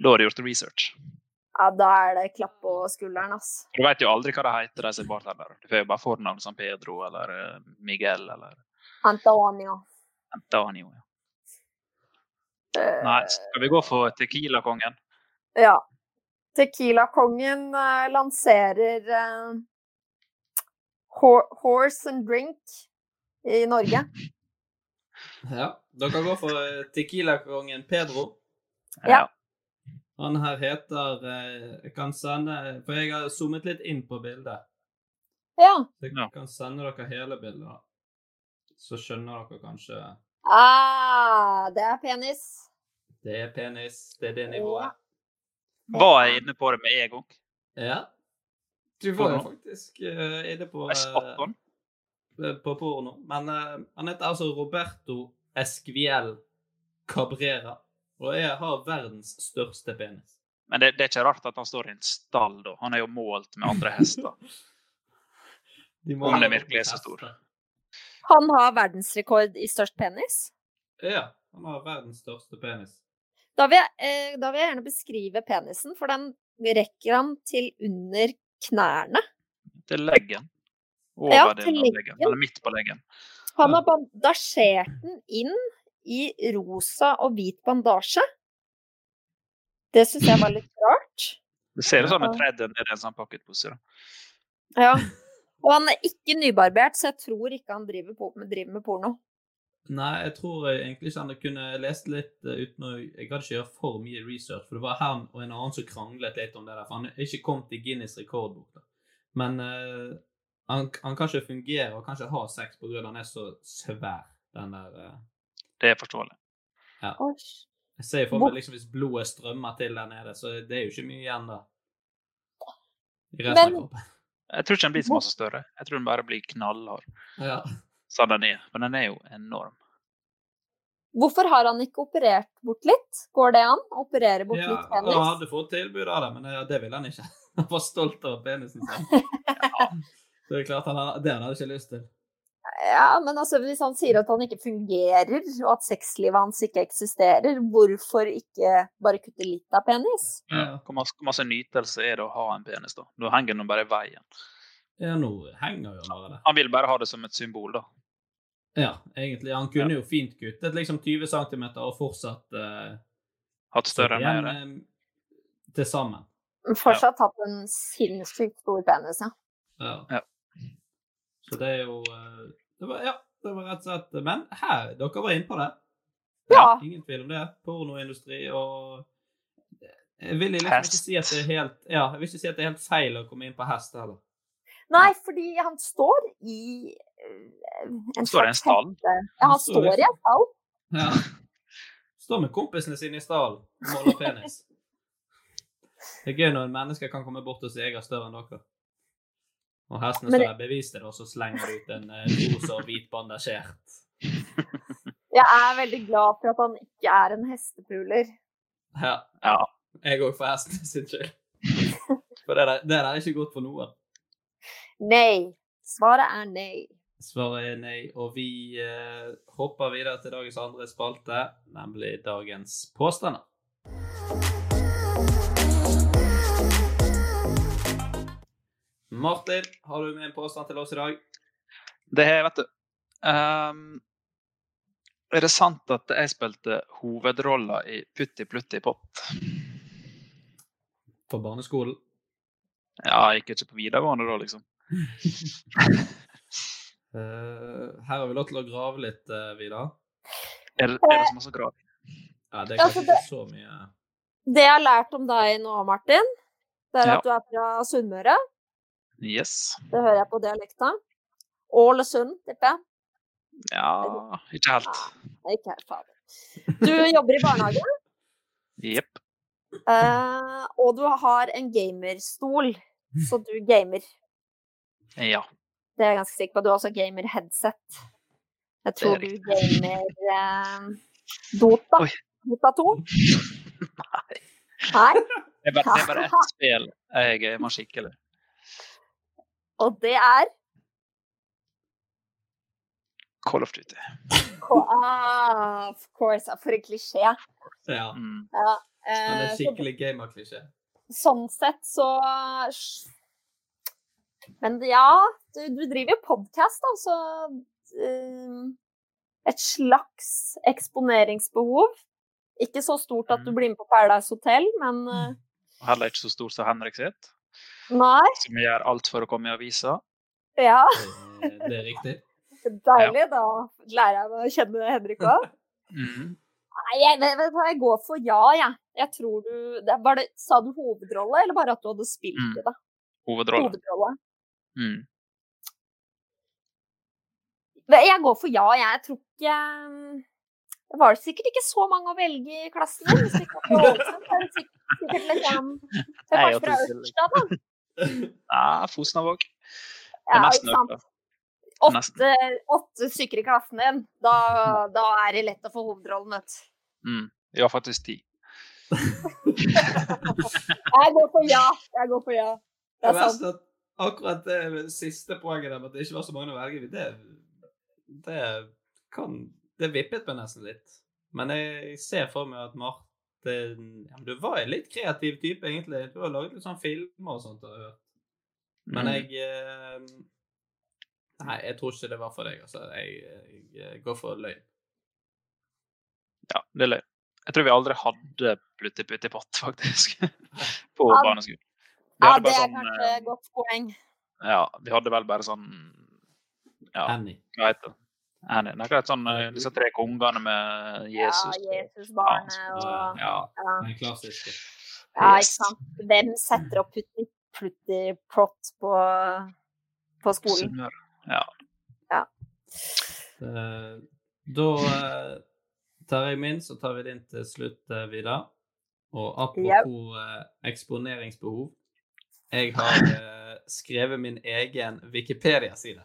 Speaker 4: Da har du gjort research.
Speaker 5: Ja, da er det klapp på skulderen, ass.
Speaker 4: Du vet jo aldri hva de heter, de som er bartendere. Du får jo bare fornavn som Pedro eller eh, Miguel eller
Speaker 5: Antonio.
Speaker 4: Antonio. ja.
Speaker 5: Eh,
Speaker 4: Nei, skal vi gå for Tequila-kongen?
Speaker 5: Ja. Tequila-kongen eh, lanserer eh, ho Horse and Drink i Norge.
Speaker 3: Ja. Dere går for eh, Tequila-kongen Pedro.
Speaker 5: Ja.
Speaker 3: Han her heter eh, Jeg kan sende For jeg har zoomet litt inn på bildet.
Speaker 5: Ja.
Speaker 3: Så jeg
Speaker 4: Ja.
Speaker 3: kan sende dere hele bildet. da. Så skjønner dere kanskje
Speaker 5: Ah, det er penis.
Speaker 3: Det er penis. Det er det nivået.
Speaker 4: Var jeg inne på det med en gang?
Speaker 3: Ja. Du var jo
Speaker 4: Porno.
Speaker 3: faktisk eh, inne på
Speaker 4: Jeg satt på
Speaker 3: eh,
Speaker 4: den.
Speaker 3: på porno. Men eh, han heter altså Roberto Esquiel Cabrera, og jeg har verdens største penis.
Speaker 4: Men det, det er ikke rart at han står i en stall, da. Han er jo målt med andre hester.
Speaker 3: De må-
Speaker 4: Han er virkelig så stor.
Speaker 5: Han har verdensrekord i størst penis.
Speaker 3: Ja, han har verdens største penis.
Speaker 5: Da vil, jeg, eh, da vil jeg gjerne beskrive penisen, for den rekker han til under knærne.
Speaker 4: Til leggen. Over
Speaker 5: Ja, til
Speaker 4: delen av leggen.
Speaker 5: leggen.
Speaker 4: Eller midt på leggen.
Speaker 5: Han
Speaker 3: Ja.
Speaker 5: har bandasjert den inn i rosa og hvit bandasje. Det syns jeg var litt rart.
Speaker 4: Det ser ut som
Speaker 5: Ja.
Speaker 4: en tredje ned i en sånn pocketpose. da.
Speaker 5: Ja. Og han er ikke nybarbert, så jeg tror ikke han driver, på, driver med porno.
Speaker 3: Nei, jeg tror jeg egentlig ikke han kunne lest litt eh, uten å Jeg kan ikke gjøre for mye research, for det var han og en annen som kranglet litt om det der. For han er ikke kommet i Guinness rekordbok, da. Men eh, han, han kan ikke fungere og kan ikke ha sex på grunn av han er så svær, den der eh,
Speaker 4: Det er forståelig.
Speaker 5: Åsj.
Speaker 3: Jeg ser jo for
Speaker 5: Hvor-
Speaker 3: meg liksom hvis blodet strømmer til der nede, så det er jo ikke mye igjen da. I resten
Speaker 5: Men-
Speaker 3: av kroppen.
Speaker 4: Jeg tror ikke den blir så masse større. Jeg tror den bare blir knallhard.
Speaker 3: Ja.
Speaker 4: Sånn den er. Men den er jo enorm.
Speaker 5: Hvorfor har han ikke operert bort litt? Går det an? å Operere bort
Speaker 3: ja,
Speaker 5: litt
Speaker 3: og han
Speaker 5: penis?
Speaker 3: hadde fått tilbud av det, men det, det ville han ikke. Han var stolt av penisen sin. Så det er klart han, hadde- det han hadde ikke lyst til.
Speaker 5: Ja, men altså, hvis han sier at han ikke fungerer, og at sexlivet hans ikke eksisterer, hvorfor ikke bare kutte litt av penis?
Speaker 3: Ja.
Speaker 4: Hvor masse, hvor masse nytelse er det å ha en penis, da? Nå henger den bare i veien.
Speaker 3: Ja, nå henger jo bare det.
Speaker 4: Han vil bare ha det som et symbol, da.
Speaker 3: Ja, egentlig. Han kunne jo fint kuttet liksom 20 cm og fortsatt eh,
Speaker 4: Hatt større
Speaker 3: sitte
Speaker 4: enn
Speaker 3: igjen,
Speaker 4: mer.
Speaker 3: eh, til sammen.
Speaker 5: Fortsatt hatt en sinnssykt stor penis, ja.
Speaker 3: Ja.
Speaker 4: Ja.
Speaker 3: Så det er jo eh, det var, Ja, det var rett og slett Men her, dere var inne på det.
Speaker 5: Ja.
Speaker 3: Ingen tvil om det. Pornoindustri og Jeg vil liksom
Speaker 4: Hest.
Speaker 3: ikke si at det er helt Ja, jeg vil ikke si at det er helt feil å komme inn på hest heller.
Speaker 5: Nei, fordi han står i eh, en
Speaker 4: Står i en
Speaker 5: slags
Speaker 4: stall?
Speaker 5: hette. Ja, han står i en stall.
Speaker 3: Ja. Står med kompisene sine i stallen og måler penis. Det er gøy når mennesker kan komme bort og si 'jeg er større enn dere'. Og hestene
Speaker 5: Men
Speaker 3: står der, bevis det, og så slenger de ut en eh, rosa og hvit bandasjert
Speaker 5: Jeg er veldig glad for at han ikke er en hestepuler.
Speaker 3: Ja.
Speaker 4: Ja.
Speaker 3: Jeg òg, for hestene sin skyld. For det der, det der er ikke godt for noen.
Speaker 5: Nei. Svaret er nei.
Speaker 3: Svaret er nei, og vi eh, hopper videre til dagens andre spalte, nemlig dagens påstander. Martin, har du med en påstand til oss i dag?
Speaker 4: Det har jeg, vet du. Ehm, er det sant at jeg spilte hovedrolla i Putti Plutti Pott?
Speaker 3: På barneskolen?
Speaker 4: Ja, jeg gikk ikke på videregående da, liksom.
Speaker 3: Eh, her har vi lov til å grave litt, eh, Vidar.
Speaker 4: Er, er det så masse krav?
Speaker 3: Ja, det er
Speaker 5: Ja,
Speaker 3: kanskje
Speaker 5: for det-
Speaker 3: ikke så mye
Speaker 5: Det jeg har lært om deg nå, Martin, det er
Speaker 4: Ja.
Speaker 5: at du er fra Sunnmøre.
Speaker 4: Yes.
Speaker 5: Det hører jeg på dialekta. Ålesund, tipper jeg.
Speaker 4: Ja Ikke helt.
Speaker 5: Nei, Ikke helt fader. Du jobber i barnehage,
Speaker 4: Jepp.
Speaker 5: eh, og du har en gamerstol,
Speaker 4: Mm.
Speaker 5: så du gamer.
Speaker 4: Ja.
Speaker 5: Det er jeg ganske sikker på. Du har også gamer headset. Jeg tror du
Speaker 4: riktig.
Speaker 5: gamer eh, Dota.
Speaker 4: Oi.
Speaker 5: Dota 2.
Speaker 4: Nei.
Speaker 5: Nei.
Speaker 4: Det er bare, det er bare ett spill jeg er mer skikkelig.
Speaker 5: Og det er
Speaker 4: Call of Duty.
Speaker 5: Ko- Ah, of course. ja, For en klisjé.
Speaker 3: Ja.
Speaker 4: Mm.
Speaker 3: Han er
Speaker 5: Eh, så,
Speaker 3: skikkelig gamerklisjé.
Speaker 5: sånn sett så Men ja, du, du driver jo podkast, da, så eh, Et slags eksponeringsbehov. Ikke så stort at du
Speaker 4: Mm.
Speaker 5: blir med på Paradise Hotel, men
Speaker 3: Mm.
Speaker 5: eh,
Speaker 4: Og Heller ikke så stor som Henrik sitt,
Speaker 5: nei.
Speaker 4: som gjør alt for å komme i avisa.
Speaker 5: Ja,
Speaker 3: Det Eh, det er riktig.
Speaker 5: deilig. Da lærer jeg meg å kjenne Henrik òg.
Speaker 4: Mm.
Speaker 5: Nei, jeg vet, vet du hva, jeg går for ja, jeg. Jeg tror du det, var det, Sa du hovedrolle, eller bare at du hadde spilt
Speaker 4: Mm.
Speaker 5: i det?
Speaker 4: Hovedrolle.
Speaker 5: Hovedrolle.
Speaker 4: Mm.
Speaker 5: Nei, Jeg går for ja, jeg. Jeg tror ikke um, Det var sikkert ikke så mange å velge i klassen min. Hvis det ikke var på Ålesund, så er det sikkert, sikkert liksom Det
Speaker 4: Nei,
Speaker 5: er
Speaker 4: jeg
Speaker 5: kanskje fra
Speaker 4: tror ikke-
Speaker 5: Ørsta, da.
Speaker 4: Nei, Fosnavåg. Det er
Speaker 5: Ja,
Speaker 4: nesten
Speaker 5: ikke sant.
Speaker 4: øvd.
Speaker 5: Åtte, åtte stykker i klassen din. Da, da er det lett å få hovedrollen, vet du.
Speaker 4: Mm. Ja, faktisk ti.
Speaker 5: Jeg går for ja. Jeg går for ja. Det
Speaker 3: Det
Speaker 5: er sant.
Speaker 3: verste er at akkurat det siste poenget der med at det ikke var så mange å velge i, det, det kan Det vippet meg nesten litt. Men jeg ser for meg at Martin ja, men Du var en litt kreativ type, egentlig. Du har laget litt sånn filmer og sånt. har jeg hørt. Men
Speaker 4: Mm.
Speaker 3: jeg eh, Nei, jeg tror ikke det var for deg. Altså, jeg, jeg går for løgn.
Speaker 4: Ja, det er løy. Jeg tror vi aldri hadde Plutti Putti Pott, faktisk, på
Speaker 5: Ja,
Speaker 4: barneskolen. Vi
Speaker 5: Ja,
Speaker 4: hadde
Speaker 5: det
Speaker 4: bare
Speaker 5: er
Speaker 4: sånn,
Speaker 5: kanskje
Speaker 4: eh,
Speaker 5: et godt poeng.
Speaker 4: ja, vi hadde vel bare sånn Ja,
Speaker 3: Annie.
Speaker 4: hva heter det? Annie. Nei, hva heter det? sånn, eh, disse tre kongene med
Speaker 5: Ja,
Speaker 4: Jesus?
Speaker 5: Jesusbarnet
Speaker 3: Ja,
Speaker 5: og ja.
Speaker 3: den klassiske.
Speaker 5: Ja,
Speaker 4: Yes.
Speaker 5: ikke sant. Hvem setter opp putti, plutti plott på, på skolen?
Speaker 4: Sunnmøre.
Speaker 3: Eh, Da eh, tar jeg min, så tar vi din til slutt, eh, Vidar. Og apropos eh, eksponeringsbehov. Jeg har eh, skrevet min egen Wikipedia-side.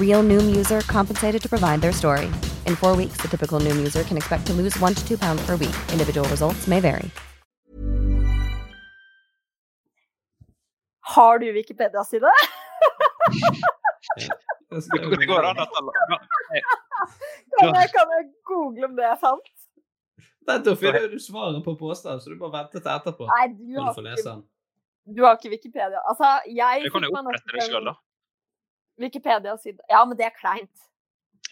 Speaker 1: Real Noom user compensated to provide their story. In four weeks, the typical Noom user can expect to lose one to two pounds per week. Individual results may vary.
Speaker 5: Har du Wikipedia-side?
Speaker 4: Det det går an at
Speaker 5: Kan, jeg- kan jeg google om det er sant?
Speaker 3: Den til å finne du svaret på påstand, så du bare venter til etterpå.
Speaker 5: Nei, du
Speaker 3: Når du
Speaker 5: har,
Speaker 3: får lese
Speaker 5: ikke,
Speaker 3: den.
Speaker 5: du har ikke Wikipedia. Altså, jeg
Speaker 4: Du kan
Speaker 5: fikk
Speaker 4: jo
Speaker 5: meg nok
Speaker 4: opprette det
Speaker 5: en
Speaker 4: sjøl, da.
Speaker 5: Wikipedia-side. Ja, men det er kleint.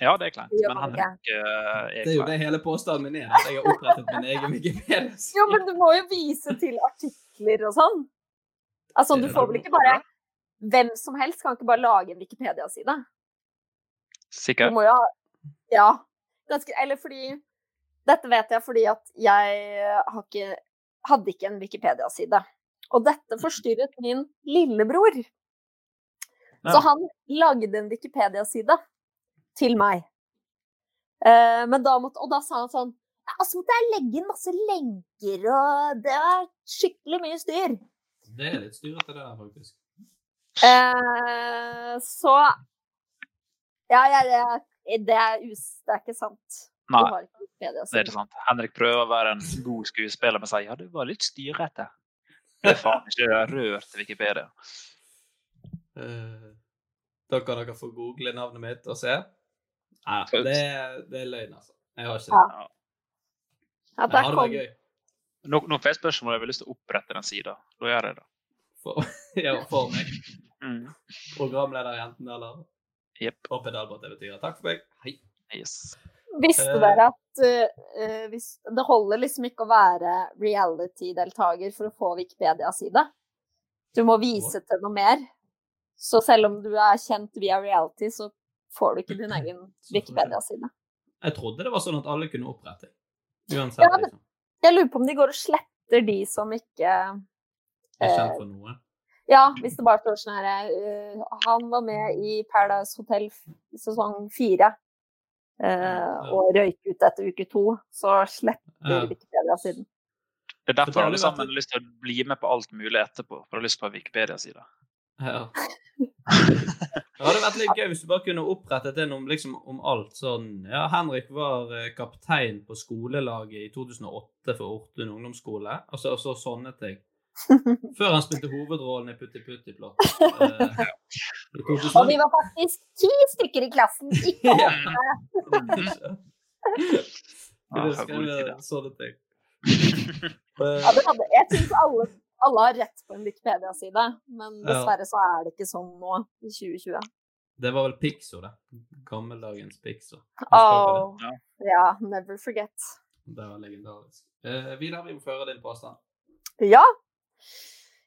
Speaker 4: Ja, det er kleint.
Speaker 5: Det gjør
Speaker 4: Men
Speaker 5: man
Speaker 4: Henrik eh, er
Speaker 3: Det er jo det
Speaker 4: klein.
Speaker 3: hele påstanden min er. At jeg har opprettet min egen Wikipedia.
Speaker 5: Jo, men du må jo vise til artikler og sånn. Altså, du får vel ikke bare Hvem som helst kan ikke bare lage en Wikipedia-side. Du
Speaker 4: Sikker?
Speaker 5: må jo ha Ja. Ganske Eller fordi Dette vet jeg fordi at jeg eh, har ikke, hadde ikke en Wikipedia-side. Og dette forstyrret min lillebror. Så
Speaker 4: Ja.
Speaker 5: han lagde en Wikipedia-side til meg. Eh, men da måtte, og da sa han sånn «Ja, Altså måtte jeg legge inn masse lenker, og det var skikkelig mye styr.
Speaker 3: Det er litt styrete, det der, faktisk.
Speaker 5: Eh, så Ja, jeg, jeg, det, er us, det er ikke sant. Du
Speaker 4: Nei,
Speaker 5: har ikke Wikipedia-side.
Speaker 4: det er ikke sant. Henrik prøver å være en god skuespiller, men sier ja, det var litt styrete. Det er faen ikke det er rørt Wikipedia.
Speaker 3: Eh, Da kan dere få google navnet mitt og se. Nei, det, er- det er løgn, altså. Jeg har ikke det.
Speaker 5: Ja. Ja,
Speaker 3: Men
Speaker 5: der
Speaker 3: det hadde
Speaker 5: kom-
Speaker 3: vært gøy.
Speaker 4: Nå, nå får jeg spørsmål om jeg har lyst til å opprette den sida. Da gjør jeg det.
Speaker 3: For, ja, for meg.
Speaker 4: Mm.
Speaker 3: Programlederjenten eller
Speaker 4: Jepp.
Speaker 3: Og pedalbåt, det betyr. Takk for meg. Hei.
Speaker 4: Yes.
Speaker 5: Visste
Speaker 3: Eh.
Speaker 5: dere at eh, eh, hvis, det holder liksom ikke å være reality-deltaker for å få Wikipedia-side? Du må vise til noe mer. Så selv om du er kjent via reality, så får du ikke din egen Wikipedia-side.
Speaker 3: Jeg trodde det var sånn at alle kunne opprette. Uansett,
Speaker 5: Ja, men-
Speaker 3: liksom.
Speaker 5: Jeg lurer på om de går og sletter de som ikke eh,
Speaker 3: Jeg er kjent for noe.
Speaker 5: Ja, hvis det bare står sånn her eh, Han var med i Paradise Hotel f- sesong fire. eh, og røyk ut etter uke to, så
Speaker 3: Ja. Eh,
Speaker 5: sletter Wikipedia-siden.
Speaker 4: Det er
Speaker 3: Så det
Speaker 4: derfor
Speaker 3: har jo
Speaker 4: alle
Speaker 3: vært
Speaker 4: sammen har lyst til å bli med på alt mulig etterpå. For de har lyst på en Wikipedia-side.
Speaker 3: Ja. Det hadde vært litt gøy hvis du bare kunne opprettet en om, liksom, om alt. Sånn, ja, Henrik var eh, kaptein på skolelaget i 2008 for Ortun ungdomsskole. Altså, Og så, og så sånne ting. Før han spilte hovedrollen i Putti Putti Plott. eh, i
Speaker 5: Og vi var faktisk ti stykker i klassen, ikke
Speaker 3: Ja.
Speaker 4: Mm.
Speaker 3: Skulle
Speaker 4: Ja, det er god
Speaker 3: skrive
Speaker 4: idé.
Speaker 3: sånne ting.
Speaker 5: Ja,
Speaker 3: Eh,
Speaker 5: det hadde, jeg syns alle, alle har rett på en Wikipedia-side, men
Speaker 3: Ja.
Speaker 5: dessverre så er det ikke sånn nå i 2020.
Speaker 3: Det var vel Pixo, det. Gammeldagens Pixo.
Speaker 5: Oh,
Speaker 4: Ja.
Speaker 5: ja, never forget.
Speaker 3: Det var legendarisk. Eh, Vidar, vi må føre din påstand.
Speaker 5: Ja.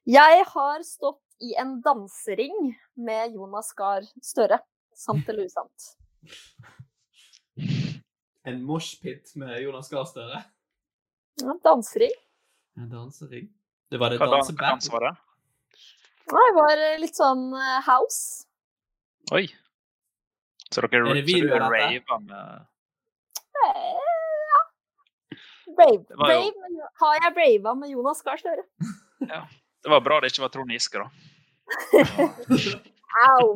Speaker 5: Jeg har stått i en dansering med Jonas Gahr Støre. Sant eller usant?
Speaker 3: En moshpit med Jonas Gahr Støre.
Speaker 5: Ja, dansering.
Speaker 3: En dansering. Det var det
Speaker 4: Hva dan- hva dans
Speaker 3: danseband.
Speaker 4: var det?
Speaker 5: Ja, Det var litt sånn eh, house.
Speaker 4: Oi. Så dere
Speaker 3: Er det
Speaker 4: så
Speaker 3: video
Speaker 4: dere
Speaker 3: av dette?
Speaker 4: raver med
Speaker 5: Eh, Ja. Brave.
Speaker 4: Det var jo-
Speaker 5: Brave. med Jo- Har jeg brava med Jonas Gahr Støre?
Speaker 4: Det var bra det ikke var Trond Giske, da.
Speaker 5: Au!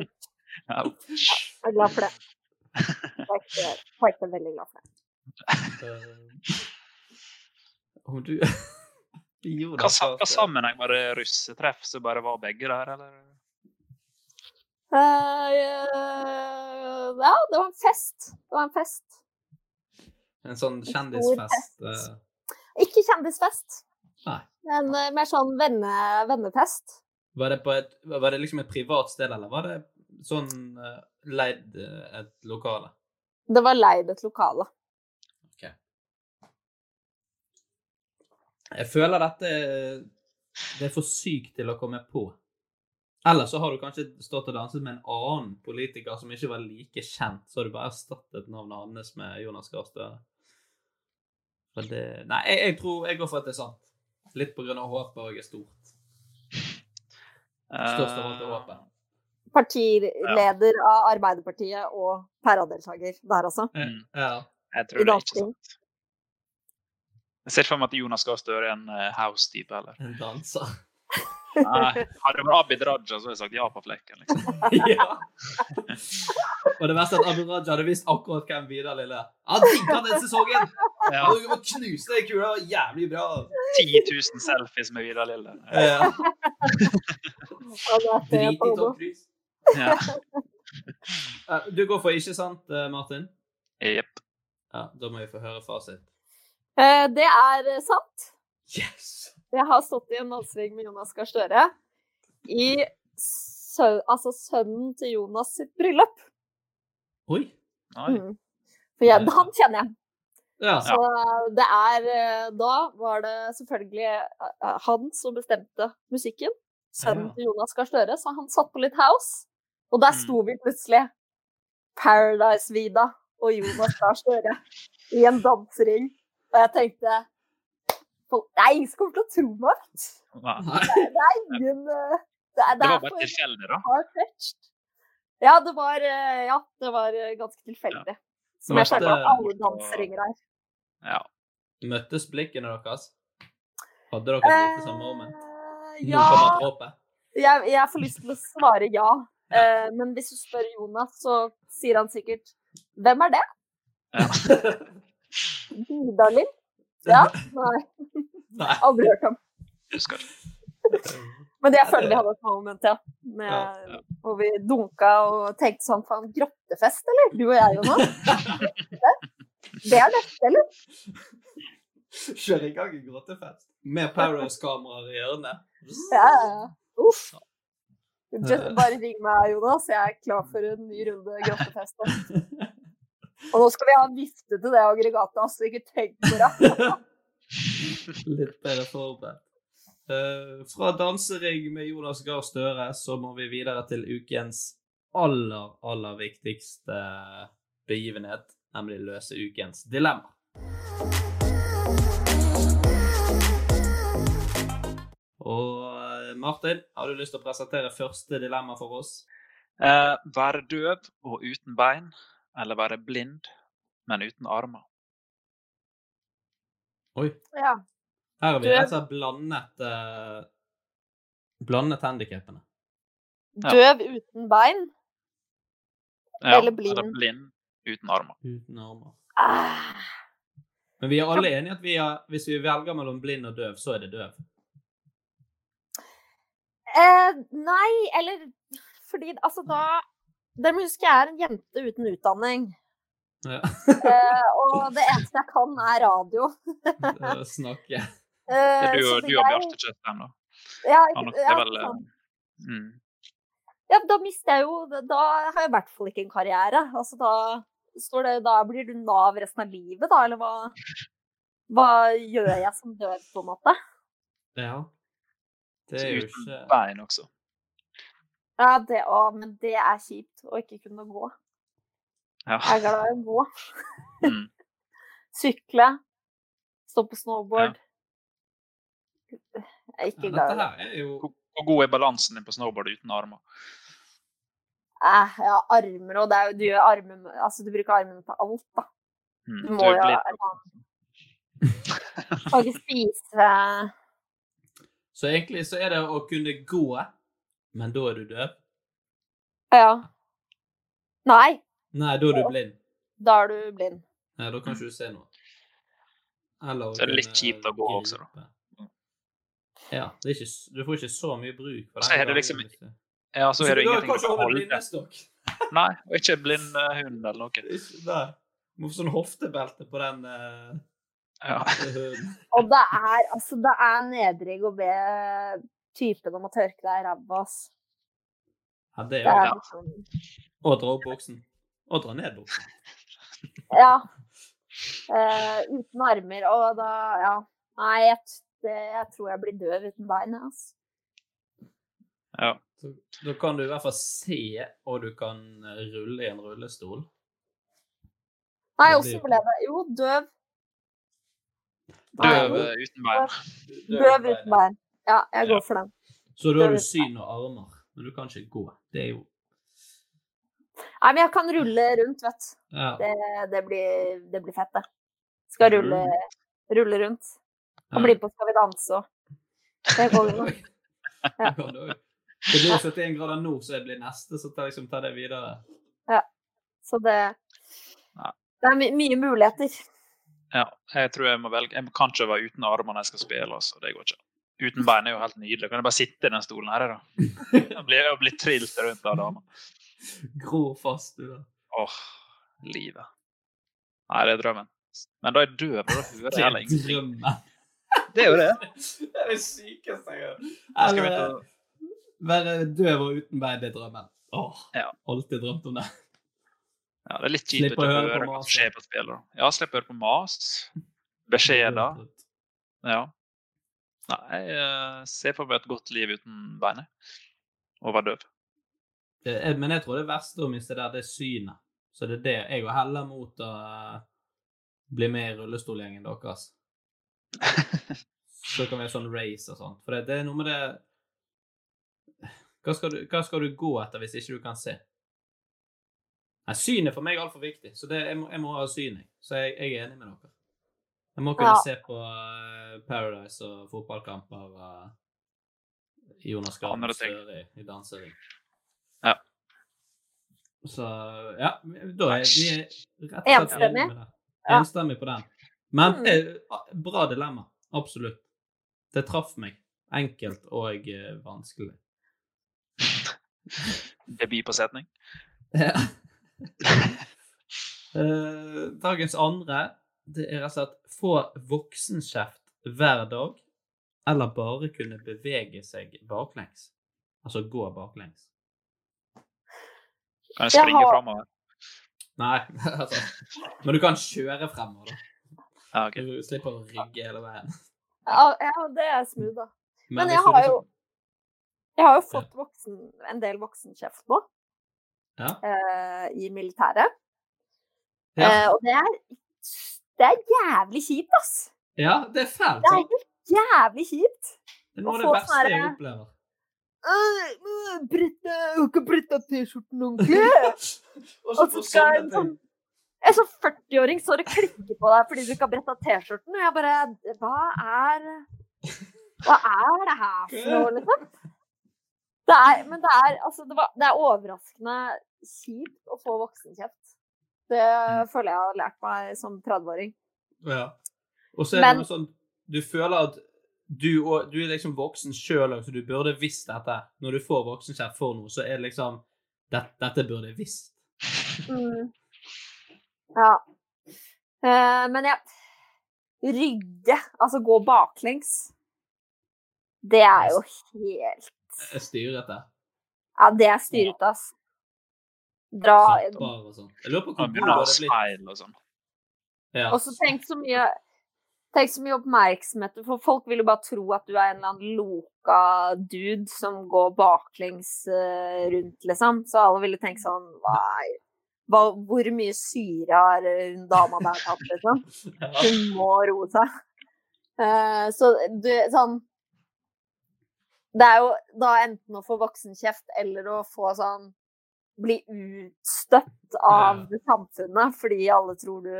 Speaker 4: Ja.
Speaker 5: Jeg er glad for det. Jeg er ikke, jeg er ikke veldig glad for det.
Speaker 3: Eh, Om du
Speaker 4: Hva,
Speaker 3: Jonas
Speaker 4: sa-
Speaker 3: Gahr
Speaker 4: hva
Speaker 3: Støre.
Speaker 4: sammenheng var det russetreff som bare var begge der, eller?
Speaker 5: Eh, eh, ja, det var en fest. Det var en fest.
Speaker 3: En sånn kjendisfest. eh,
Speaker 5: Ikke kjendisfest,
Speaker 3: Nei.
Speaker 5: men eh, mer sånn venne, vennefest.
Speaker 3: Var det, på et, var det liksom et privat sted, eller var det sånn eh, leid eh, et lokale?
Speaker 5: Det var leid et lokale.
Speaker 3: Jeg føler dette eh, Det er for sykt til å komme på. Eller så har du kanskje stått og danset med en annen politiker som ikke var like kjent, så har du bare erstattet navnet hans med Jonas Gahr Støre. For det Nei, jeg, jeg tror jeg går for at det er sant. Litt på grunn av håpet òg er stort. Størst
Speaker 4: Eh,
Speaker 3: av alt er håpet.
Speaker 5: Partileder av Arbeiderpartiet og pæradeltaker der, altså.
Speaker 4: Mm.
Speaker 3: Ja.
Speaker 4: Jeg
Speaker 5: I
Speaker 4: tror det er ikke
Speaker 5: dansing.
Speaker 4: sant. Jeg ser for meg at Jonas Gahr Støre er en eh, house-type, eller?
Speaker 3: En danser.
Speaker 4: Nei, hadde det vært Abid Raja, så hadde jeg sagt ja på flekken. liksom.
Speaker 3: ja. Og det verste er at Abid Raja hadde visst akkurat hvem Vidar Lille er. Han digga den sesongen!
Speaker 4: Ja.
Speaker 3: Han må knuse deg i kula. Jævlig bra.
Speaker 4: 10 000 selfies med Vidar Lille.
Speaker 3: Ja.
Speaker 5: Ja, det er det jeg
Speaker 3: Drit i
Speaker 5: holder.
Speaker 3: topplys.
Speaker 4: Ja.
Speaker 3: Eh, Du går for ikke sant, eh, Martin?
Speaker 4: Jepp.
Speaker 3: Ja, Da må vi få høre fasit.
Speaker 5: Eh, Det er eh, sant.
Speaker 3: Yes!
Speaker 5: Jeg har stått i en dansering med Jonas Gahr Støre i sø altså sønnen til Jonas sitt bryllup.
Speaker 3: Oi.
Speaker 4: Oi.
Speaker 5: Mm. For jeg, han kjenner jeg.
Speaker 3: Ja.
Speaker 5: Så det er eh, Da var det selvfølgelig eh, han som bestemte musikken. Sønnen
Speaker 3: Ja.
Speaker 5: til Jonas Gahr Støre, så han satt på litt house. Og der sto vi plutselig, Paradise-Vida og Jonas Gahr Støre, i en dansering. Og jeg tenkte "Folk- Nei, ingen som kommer til å tro meg. vet du."
Speaker 4: Nei.
Speaker 5: ingen eh, Det er
Speaker 4: Det var
Speaker 5: derfor
Speaker 4: bare tilfeldig, da.
Speaker 5: far-fetched. Ja, det var, eh, ja, det var eh, ganske tilfeldig. Som jeg
Speaker 3: Møtte-
Speaker 5: skjønte at alle danseringer her.
Speaker 4: Ja.
Speaker 3: Møttes blikkene deres? Hadde dere et lite samme moment?
Speaker 5: Eh,
Speaker 3: Nå
Speaker 5: ja,
Speaker 3: kommer dråpen.
Speaker 5: jeg, jeg får lyst til å svare ja. Eh, men hvis du spør Jonas, så sier han sikkert Hvem er det? Vidalin? Ja? Nei,
Speaker 3: Nei.
Speaker 5: aldri hørt om.
Speaker 4: Husker ikke.
Speaker 5: Men jeg
Speaker 3: Ja,
Speaker 5: føler
Speaker 3: det-
Speaker 5: vi hadde et moment, ja.
Speaker 3: Ja,
Speaker 5: Med, hvor vi dunka og tenkte sånn faen, grottefest, eller? Du og jeg, Jonas? Det er neste, eller?
Speaker 3: Kjør i gang en gråtefest. Med Paradise-kameraer i hjørnet.
Speaker 5: Ja, ja, ja. Uff. Just,
Speaker 3: Eh.
Speaker 5: bare ring meg, Jonas. Jeg er klar for en ny runde grottefest. nå. Og nå skal vi ha en vifte til det aggregatet, altså. Ikke tenk på det.
Speaker 3: Litt bedre forberedt. Eh, fra dansering med Jonas Gahr Støre, så må vi videre til ukens aller, aller viktigste begivenhet, nemlig løse ukens dilemma. Og eh, Martin, har du lyst til å presentere første dilemma for oss?
Speaker 4: Eh, være døv og uten bein, eller være blind, men uten armer.
Speaker 3: Oi.
Speaker 5: Ja.
Speaker 3: Her har vi
Speaker 5: Du-
Speaker 3: rett og slett blandet eh, Blandet handikappene.
Speaker 4: Ja.
Speaker 5: Døv uten bein.
Speaker 4: Ja,
Speaker 5: Eller blind.
Speaker 4: Eller blind uten armer.
Speaker 3: Uten armer.
Speaker 5: Ah.
Speaker 3: Men vi er alle enige at vi er, hvis vi velger mellom blind og døv, så er det døv.
Speaker 5: Eh, nei, eller fordi altså da Dere må huske jeg er en jente uten utdanning.
Speaker 3: Ja.
Speaker 5: Eh, og det eneste jeg kan, er radio.
Speaker 3: Eh, Snakke.
Speaker 4: Det
Speaker 5: Eh,
Speaker 4: er du,
Speaker 5: så
Speaker 4: og-
Speaker 5: det
Speaker 4: du og
Speaker 5: jeg-
Speaker 4: Bjarte Kjøstheim, da.
Speaker 5: Ja,
Speaker 4: Han
Speaker 5: ikke-
Speaker 4: er
Speaker 5: ja,
Speaker 4: vel
Speaker 5: sant.
Speaker 4: eh, mm.
Speaker 5: ja, da mister jeg jo Da har jeg i hvert fall ikke en karriere. Altså da står det Da blir du Nav resten av livet, da, eller hva? Hva gjør jeg som døv, på en måte?
Speaker 3: Ja. Det
Speaker 4: Så
Speaker 3: er jo
Speaker 4: uten
Speaker 3: ikke
Speaker 4: bein også.
Speaker 5: Ja, det òg, men det er kjipt å ikke kunne gå.
Speaker 4: Ja.
Speaker 5: Jeg er glad i å gå.
Speaker 4: Mm.
Speaker 5: Sykle. Stå på snowboard. Jeg er
Speaker 3: ja,
Speaker 5: ikke glad i
Speaker 3: Dette
Speaker 5: det.
Speaker 3: her er jo
Speaker 4: Hvor hvor god er balansen din på snowboard uten armer?
Speaker 5: Eh, Jeg har armer, og det er jo, du, gjør armen, altså, du bruker armene til alt, da.
Speaker 4: Mm.
Speaker 5: Du
Speaker 4: Du
Speaker 5: må
Speaker 4: er
Speaker 5: jo ha
Speaker 4: blind.
Speaker 5: en annen Kan ikke spise
Speaker 3: Så egentlig så er det å kunne gå, men da er du døv.
Speaker 5: Ja. Nei,
Speaker 3: Nei, da er du blind.
Speaker 5: da er du blind.
Speaker 3: Ja, da kan ikke du se noe. Eller å
Speaker 4: Så er det litt
Speaker 3: kunne
Speaker 4: kjipt å gå
Speaker 3: gripe.
Speaker 4: også, da.
Speaker 3: Ja. Det er ikke, s- du får ikke så mye bruk for
Speaker 4: Så er det
Speaker 3: gangen
Speaker 4: liksom-
Speaker 3: hvis du-
Speaker 4: Ja, så
Speaker 3: Så
Speaker 4: er det
Speaker 3: du har
Speaker 4: ingenting
Speaker 3: kanskje
Speaker 4: å
Speaker 3: holde
Speaker 4: holde.
Speaker 3: blindestokk?
Speaker 4: Nei, og ikke blind eh, hund eller noe.
Speaker 3: Ikke der. Må få sånn hoftebelte på den eh,
Speaker 4: Ja.
Speaker 3: hunden.
Speaker 5: Og det er, altså, det er nedrig å be typen om å tørke deg i ræva, ass.
Speaker 3: Ja, det
Speaker 5: Det
Speaker 3: er jo
Speaker 5: er
Speaker 3: det.
Speaker 5: liksom
Speaker 3: Og dra opp buksen. Og dra ned buksen.
Speaker 5: Ja. Eh, uten armer, og da Ja. Nei, jeg, t- det, jeg tror jeg blir døv uten bein, jeg, ass.
Speaker 4: Ja.
Speaker 3: Så, da kan du i hvert fall se, og du kan eh, rulle i en rullestol.
Speaker 5: Nei,
Speaker 3: Det
Speaker 5: åssen
Speaker 3: blir-
Speaker 5: ble det? Jo, døv.
Speaker 4: Døv eh, uten bein.
Speaker 3: eh,
Speaker 5: Døv uten bein. Ja, jeg går for den.
Speaker 3: Så da har
Speaker 5: døv
Speaker 3: du
Speaker 5: uten
Speaker 3: syn og armer, men du kan ikke gå. Det er jo
Speaker 5: Nei, men jeg kan rulle rundt, vet du.
Speaker 3: ja.
Speaker 5: Det, det, blir, det blir fett, det. Skal rulle, rulle rundt. Og bli med på Skal vi danse òg. Det går jo.
Speaker 3: Det kan du òg. Det blir 71 grader nord, så jeg blir neste, så ta, liksom, ta det videre.
Speaker 5: Så det Det er my mye muligheter.
Speaker 4: Ja, jeg tror jeg må velge. Jeg kan ikke være uten armer når jeg skal spille. altså. Det går ikke. Uten bein er jo helt nydelig. Kan jeg bare sitte i den stolen her, da? Jeg blir, jeg blir trilt rundt av dama.
Speaker 3: Grå fast, du da.
Speaker 4: Åh, livet. Nei, det er drømmen. Men da er jeg døv, og da hører jeg heller ingenting.
Speaker 3: drømmen.
Speaker 4: Det er jo det.
Speaker 3: Det er det sykeste jeg har
Speaker 4: Jeg skal
Speaker 3: Eller,
Speaker 4: ut og...
Speaker 3: Være døv og uten bein, det er drømmen. Åh,
Speaker 4: Ja.
Speaker 3: alltid drømt om det.
Speaker 4: Ja, det er litt kjipt å
Speaker 3: Slipp
Speaker 4: ikke
Speaker 3: å høre
Speaker 4: høre,
Speaker 3: på
Speaker 4: hva
Speaker 3: mas,
Speaker 4: som skjer på spillet. da. Ja, slipp å høre på mas. Beskjeder. Ja. Nei, jeg eh, ser for meg et godt liv uten beinet. Og være døv.
Speaker 3: Det er- Men jeg tror det verste å miste der, det er synet. Så det er det jeg og heller mot å eh, bli med i rullestolgjengen deres. Så det kan være sånn race og sånt. For det, det er noe med det hva skal, du, hva skal du gå etter hvis ikke du kan se? Nei, Syn er for meg altfor viktig, så det, jeg, må, jeg må ha syn. jeg. Så jeg, jeg er enig med dere. Jeg må kunne
Speaker 5: Ja.
Speaker 3: se på eh, Paradise og fotballkamper og eh, Jonas Gahr
Speaker 4: Andre ting.
Speaker 3: Støre i- i dansering.
Speaker 4: Ja.
Speaker 3: Så ja, da er vi rett og slett
Speaker 5: Enstemmig?
Speaker 3: enige med det.
Speaker 5: Ja.
Speaker 3: Enstemmig på den. Men
Speaker 5: Mm.
Speaker 3: eh, bra dilemma. Absolutt. Det traff meg. Enkelt og eh, vanskelig.
Speaker 4: Debut på setning.
Speaker 3: Eh, dagens andre det er rett og slett få voksenkjeft hver dag, eller bare kunne bevege seg baklengs. Altså gå baklengs.
Speaker 4: Kan jeg
Speaker 5: Jeg
Speaker 4: springe
Speaker 5: har-
Speaker 4: fremover?
Speaker 3: Nei, altså. Men du kan kjøre fremover, da.
Speaker 4: Ja, ok.
Speaker 3: Du slipper å rygge hele veien.
Speaker 5: Ja, ja, det er smooth, da. Men jeg
Speaker 3: hvis du
Speaker 5: har
Speaker 3: liksom-
Speaker 5: Jeg har jo fått voksen, en del voksenkjeft nå
Speaker 3: Ja.
Speaker 5: eh, i militæret. Eh,
Speaker 3: Ja.
Speaker 5: og det er, det er jævlig kjipt, ass.
Speaker 3: ja, det er fælt.
Speaker 5: Det er
Speaker 3: sant?
Speaker 5: jo jævlig kjipt.
Speaker 3: Det er noe av det
Speaker 5: å få
Speaker 3: verste jeg
Speaker 5: sånne-
Speaker 3: opplever.
Speaker 5: Britta, har ikke Britta T-skjorten ordentlig?
Speaker 3: Og
Speaker 5: Og så skal
Speaker 3: forsvinner
Speaker 5: en
Speaker 3: ting.
Speaker 5: sånn en sånn 40-åring står og klikker på deg fordi du ikke har bretta T-skjorten. Og jeg bare Hva er Hva er det her for noe, liksom? Det er, men det er, altså, det, var, det er overraskende kjipt å få voksenkjeft. Det føler jeg har lært meg som 30-åring.
Speaker 3: Ja. Og så er
Speaker 5: Men-
Speaker 3: det noe sånn Du føler at du, og, du er liksom voksen sjøl òg, så du burde visst dette. Når du får voksenkjeft for noe, så er det liksom Dette, dette burde jeg visst.
Speaker 5: Mm. Ja. Eh, men jeg Rygge, altså gå baklengs, det er jo helt
Speaker 3: Jeg styrer dette.
Speaker 5: Ja, det er styrete, ass. Dra
Speaker 3: Trapper og sånn. Jeg lurer på
Speaker 4: Nå
Speaker 3: hvor god
Speaker 4: begynner å
Speaker 3: det blir.
Speaker 4: speil og sånn.
Speaker 3: Ja.
Speaker 5: Og så tenk så mye Tenk så mye oppmerksomhet, for folk vil jo bare tro at du er en eller annen loka dude som går baklengs eh, rundt, liksom. Så alle ville tenke sånn Nei, hva, hvor mye syre har eh, hun dama der tatt, liksom?
Speaker 3: Ja.
Speaker 5: Hun må roe seg. Eh, så du, sånn Det er jo da enten å få voksenkjeft eller å få sånn Bli utstøtt av samfunnet fordi alle tror du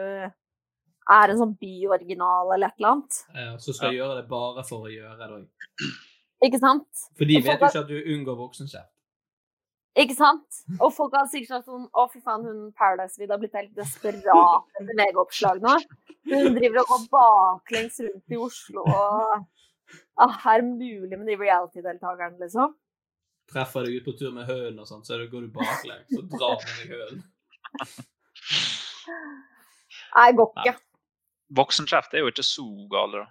Speaker 5: er en sånn byoriginal eller et eller annet.
Speaker 3: Ja, Så skal jeg gjøre det bare for å gjøre det òg.
Speaker 5: Ikke sant?
Speaker 3: For de
Speaker 5: Og
Speaker 3: vet
Speaker 5: folk
Speaker 3: jo
Speaker 5: har-
Speaker 3: ikke at du unngår voksenkjeft.
Speaker 5: Ikke sant? Og folk har sikkert sagt sånn Å, fy faen, hun Paradise-Vid har blitt helt desperat etter VG-oppslag nå. Hun driver og går baklengs rundt i Oslo og ah, Er det mulig med de reality-deltakerne, liksom?
Speaker 3: Treffer deg ut på tur med hønen og sånn, så er det- går du baklengs og drar med deg hønen.
Speaker 5: Nei, går ikke.
Speaker 4: Voksenkjeft er jo ikke så gale, da.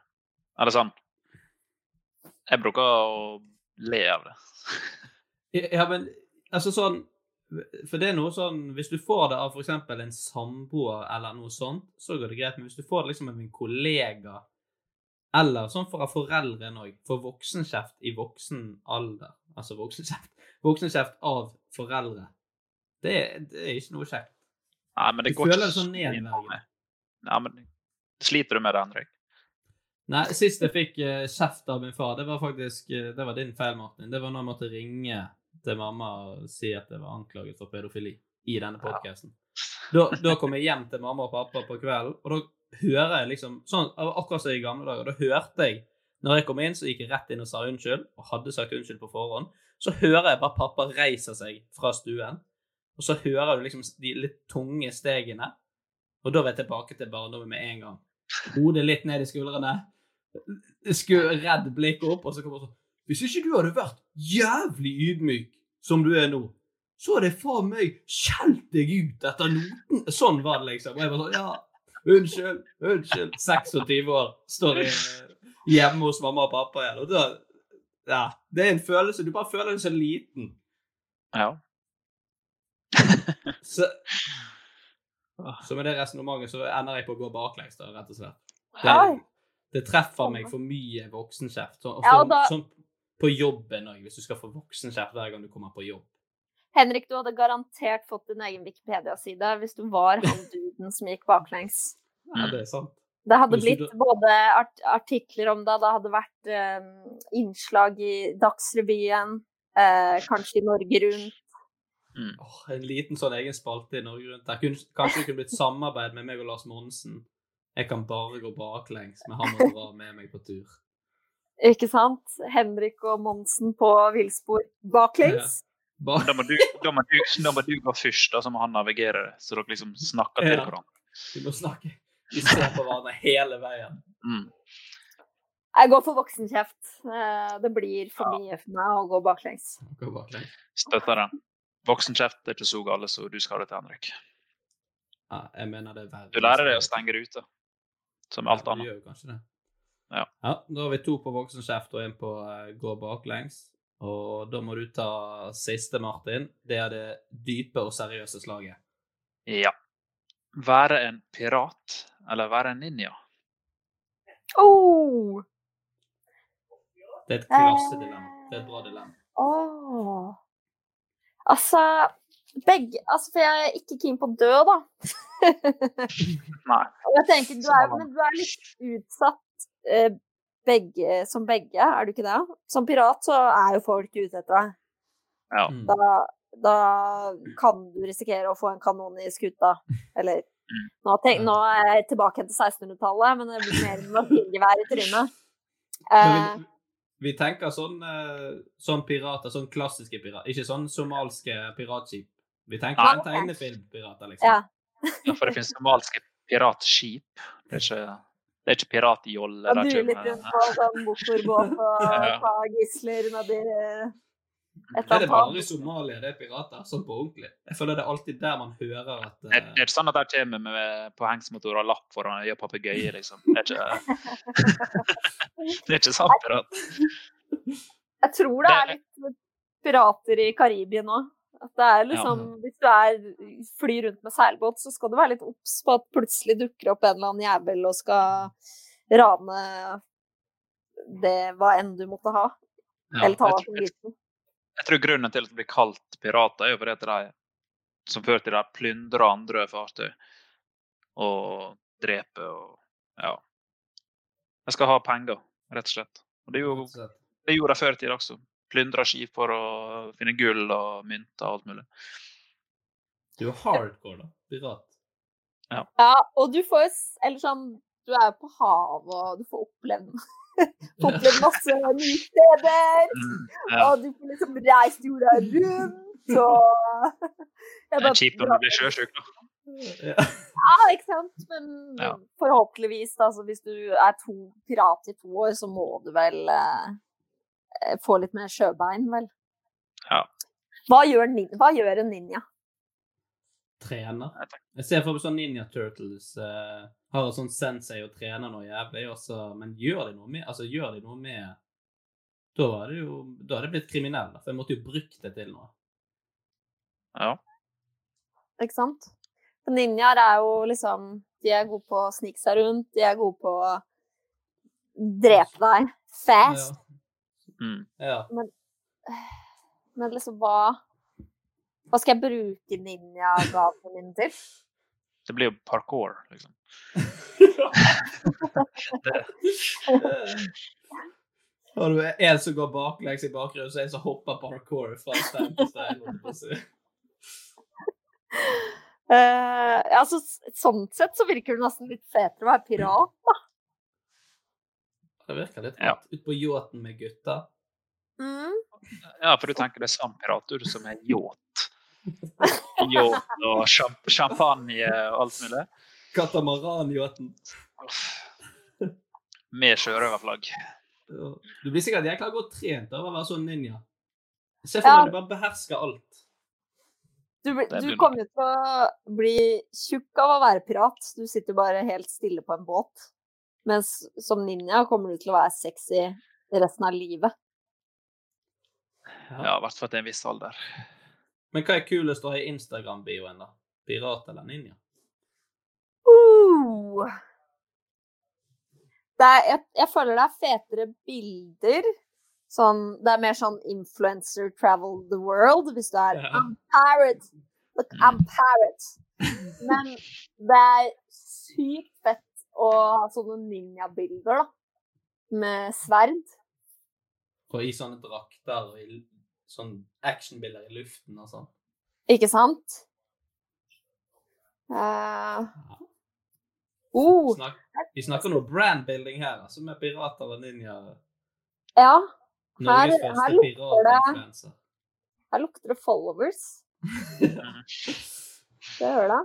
Speaker 4: Eller sånn. Jeg bruker å le av det.
Speaker 3: Ja, men altså sånn For det er noe sånn Hvis du får det av f.eks. en samboer eller noe sånt, så går det greit. Men hvis du får det liksom av en kollega Eller sånn fra foreldrene òg. For voksenkjeft i voksen alder. Altså voksenkjeft. Voksenkjeft av foreldre. Det, det er ikke noe kjekt.
Speaker 4: Nei, men det
Speaker 3: Du
Speaker 4: går
Speaker 3: føler det
Speaker 4: så
Speaker 3: sånn nedverdigende.
Speaker 4: mye. Nei, men sliter du med det, Henrik?
Speaker 3: Nei, sist jeg fikk eh, kjeft av min far, det var faktisk eh, det var din feil, Martin. Det var når jeg måtte ringe til mamma og si at jeg var anklaget for pedofili i denne podkasten. Da, da kom jeg hjem til mamma og pappa på kvelden, og da hører jeg liksom sånn, det var Akkurat som i gamle dager. Da hørte jeg Når jeg kom inn, så gikk jeg rett inn og sa unnskyld, og hadde sagt unnskyld på forhånd. Så hører jeg bare pappa reiser seg fra stuen, og så hører du liksom de litt tunge stegene. Og da er jeg tilbake til barndommen med en gang. Hodet litt ned i skuldrene sku, redd blikk opp, og så kommer han sånn Hvis ikke du hadde vært jævlig ydmyk som du er nå, så hadde jeg faen meg skjelt deg ut etter noten. Sånn var det, liksom. Og jeg var sånn Ja, unnskyld, unnskyld. 26 år, står jeg hjemme hos mamma og pappa igjen. Og da Ja. Det er en følelse Du bare føler deg så liten.
Speaker 4: Ja.
Speaker 3: Så, så med det resonnementet så ender jeg på å gå baklengs, da, rett og slett. Det,
Speaker 5: Oi.
Speaker 3: det treffer meg for mye voksenkjeft. Så, og
Speaker 5: Ja,
Speaker 3: så,
Speaker 5: og da-
Speaker 3: Sånn på jobben òg, hvis du skal få voksenkjeft hver gang du kommer på jobb.
Speaker 5: Henrik, du hadde garantert fått din egen Wikipedia-side hvis du var han duden som gikk baklengs.
Speaker 3: Ja,
Speaker 5: Mm.
Speaker 3: det er sant.
Speaker 5: Det hadde
Speaker 3: Hvis
Speaker 5: blitt
Speaker 3: du
Speaker 5: både art artikler om det, det hadde vært eh, innslag i Dagsrevyen, eh, kanskje i Norge Rundt.
Speaker 3: Åh, en liten sånn egen spalte i Norge Rundt der. Kun- Kanskje det kunne blitt samarbeid med meg og Lars Monsen. Jeg kan bare gå baklengs, men han må dra med meg på tur.
Speaker 5: Ikke sant? Henrik og Monsen på villspor baklengs.
Speaker 3: Bare-
Speaker 4: Da må, du, da, må du, da må du gå først, da, så må han navigere det, så dere liksom snakker til
Speaker 3: Ja.
Speaker 4: hverandre.
Speaker 3: Vi må snakke. Vi ser på hverandre hele veien.
Speaker 4: Mm.
Speaker 5: Jeg går for voksenkjeft. Eh, det blir for mye for meg å gå baklengs.
Speaker 3: Gå baklengs.
Speaker 4: Støtter den. Voksenkjeft er ikke så gale som du skal ha det til, Henrik.
Speaker 3: Ja, jeg mener det er verre.
Speaker 4: Du lærer deg å stenge det ute, som alt
Speaker 3: Ja,
Speaker 4: annet.
Speaker 3: Du gjør jo kanskje det.
Speaker 4: Ja.
Speaker 3: Da har vi to på voksenkjeft og en på eh, gå baklengs. Og da må du ta siste, Martin. Det er det dype og seriøse slaget.
Speaker 4: Ja. Være en pirat eller være en ninja?
Speaker 5: Oh!
Speaker 3: Det er et klassedilemma. Det er et bra dilemma.
Speaker 5: Åh. Altså Begge Altså, for jeg er ikke keen på å dø, da.
Speaker 4: Nei.
Speaker 5: Og jeg tenker, du er, men du er litt utsatt eh, begge, som begge, er du ikke det? Som pirat så er jo folk ute etter deg.
Speaker 4: Ja.
Speaker 3: Mm.
Speaker 5: Da, da kan du risikere å få en kanon i skuta. Eller Nå, tenk, nå er jeg tilbake til 1600-tallet, men det blir mer maskingevær i trynet. Eh,
Speaker 3: Men vi, vi tenker sånn, eh, sånn pirater, sånn klassiske pirater. Ikke sånn somalske piratskip. Vi tenker
Speaker 5: Nei.
Speaker 3: sånn tegnefilmpirater, liksom.
Speaker 5: ja.
Speaker 4: Ja, for det finnes somalske piratskip. Det er ikke, det er ikke piratjolle. eh, det
Speaker 5: Og
Speaker 4: er
Speaker 5: dure
Speaker 4: ikke-
Speaker 5: litt rundt på sånn motorbåt og
Speaker 4: Ja.
Speaker 5: ta gisler nedi eh,
Speaker 3: Er
Speaker 5: et eller
Speaker 3: det
Speaker 5: annet hav.
Speaker 3: bare i Somalia det er pirater? Sånn på ordentlig? Jeg føler det er alltid der man hører at
Speaker 4: Det
Speaker 3: eh,
Speaker 4: det er ikke sånn at de kommer med påhengsmotor og lapp foran øyet og papegøye, liksom. Det er ikke, det er ikke sant, pirat.
Speaker 5: Jeg tror det er
Speaker 4: Det-
Speaker 5: litt pirater i Karibia nå. At det er liksom, Hvis du er, flyr rundt med seilbåt, så skal du være litt obs på at plutselig dukker opp en eller annen jævel og skal rane det hva enn du måtte ha.
Speaker 3: ja.
Speaker 5: eller ta
Speaker 4: jeg
Speaker 5: hva
Speaker 4: tror-
Speaker 5: som gissel.
Speaker 4: Jeg tror grunnen til at det blir kalt pirater, er jo fordi at de som før til de plyndrer andre fartøy og dreper og Ja. De skal ha penger, rett og slett. Og det, er jo,
Speaker 3: Så-
Speaker 4: det gjorde de før i tida også. Plyndra skip for å finne gull og mynter og alt mulig.
Speaker 3: Du er hardcore, da. Pirat.
Speaker 5: Ja, og du får jo s- Eller sånn Du er på havet, og du får opplevd Får opplevd masse nye steder.
Speaker 4: Mm, ja.
Speaker 5: Og du får liksom reist jorda rundt, og Jeg
Speaker 4: Det er kjipt om du blir sjøsjuk, da.
Speaker 3: Ja.
Speaker 5: Ja, ikke sant? Men
Speaker 4: Ja.
Speaker 5: forhåpentligvis, da, så hvis du er to pirat i to år, så må du vel eh, eh, få litt mer sjøbein, vel?
Speaker 4: Ja.
Speaker 5: Hva gjør, nin Hva gjør en ninja?
Speaker 3: Trener.
Speaker 4: Ja, takk.
Speaker 3: Jeg ser for meg sånn Ninja Turtles eh, har en sånn sensei og trener noe jævlig, og så- men gjør de noe med Altså, gjør de noe med Da hadde det jo da hadde jeg blitt kriminell, da, for jeg måtte jo brukt det til noe.
Speaker 4: Ja.
Speaker 5: Ikke sant? For ninjaer er jo liksom De er gode på å snike seg rundt, de er gode på å drepe deg fast.
Speaker 4: Mm.
Speaker 3: Ja.
Speaker 5: Men, men liksom, hva Hva skal jeg bruke ninjagavene mine til?
Speaker 4: Det blir jo parkour, liksom.
Speaker 3: Og du er en som går baklengs i bakgrunnen, så er en som hopper parkour fra stein til stein. holdt jeg på å si.
Speaker 5: Eh, ja, så, s- sånn sett så virker det nesten litt fetere å være pirat.
Speaker 3: Det virker litt
Speaker 4: Ja.
Speaker 3: rart. Ut på yachten med gutta.
Speaker 5: Mm.
Speaker 4: Ja, for du tenker det er sampirater som er yacht. Yacht og champ- champagne og alt mulig.
Speaker 3: Katamaran-yachten.
Speaker 4: Uff. Med sjørøverflagg.
Speaker 3: Ja. Du blir sikkert jækla godt trent av å være sånn ninja. Se for
Speaker 5: Ja.
Speaker 3: deg du bare behersker alt.
Speaker 5: Du, blir-
Speaker 4: Det
Speaker 5: du
Speaker 4: blir-
Speaker 5: kommer jo til å bli tjukk av å være pirat. Du sitter bare helt stille på en båt. Mens som ninja kommer du til å være sexy resten av livet.
Speaker 4: Ja, i hvert fall til en viss alder.
Speaker 3: Men hva er kulest å ha i Instagram-bioen, da? Pirat eller ninja?
Speaker 5: Uh. Det er, jeg, jeg føler det er fetere bilder. Sånn, det er mer sånn influencer travel the world, hvis du er
Speaker 3: Ja. Mm.
Speaker 5: I'm parrot, look, I'm parrot. Men det er sykt fett å ha sånne ninjabilder, da. Med sverd.
Speaker 3: Og i sånne drakter og i l- sånn actionbilder i luften og sånn.
Speaker 5: Ikke sant? Eh, oh,
Speaker 3: Snak, vi snakker nå brandbuilding her, altså, med pirater og ninjaer.
Speaker 5: ja. Her-
Speaker 3: Norges
Speaker 5: her
Speaker 3: første
Speaker 5: lukter det.
Speaker 3: piratinfluenser.
Speaker 5: Her lukter det followers. Det gjør det.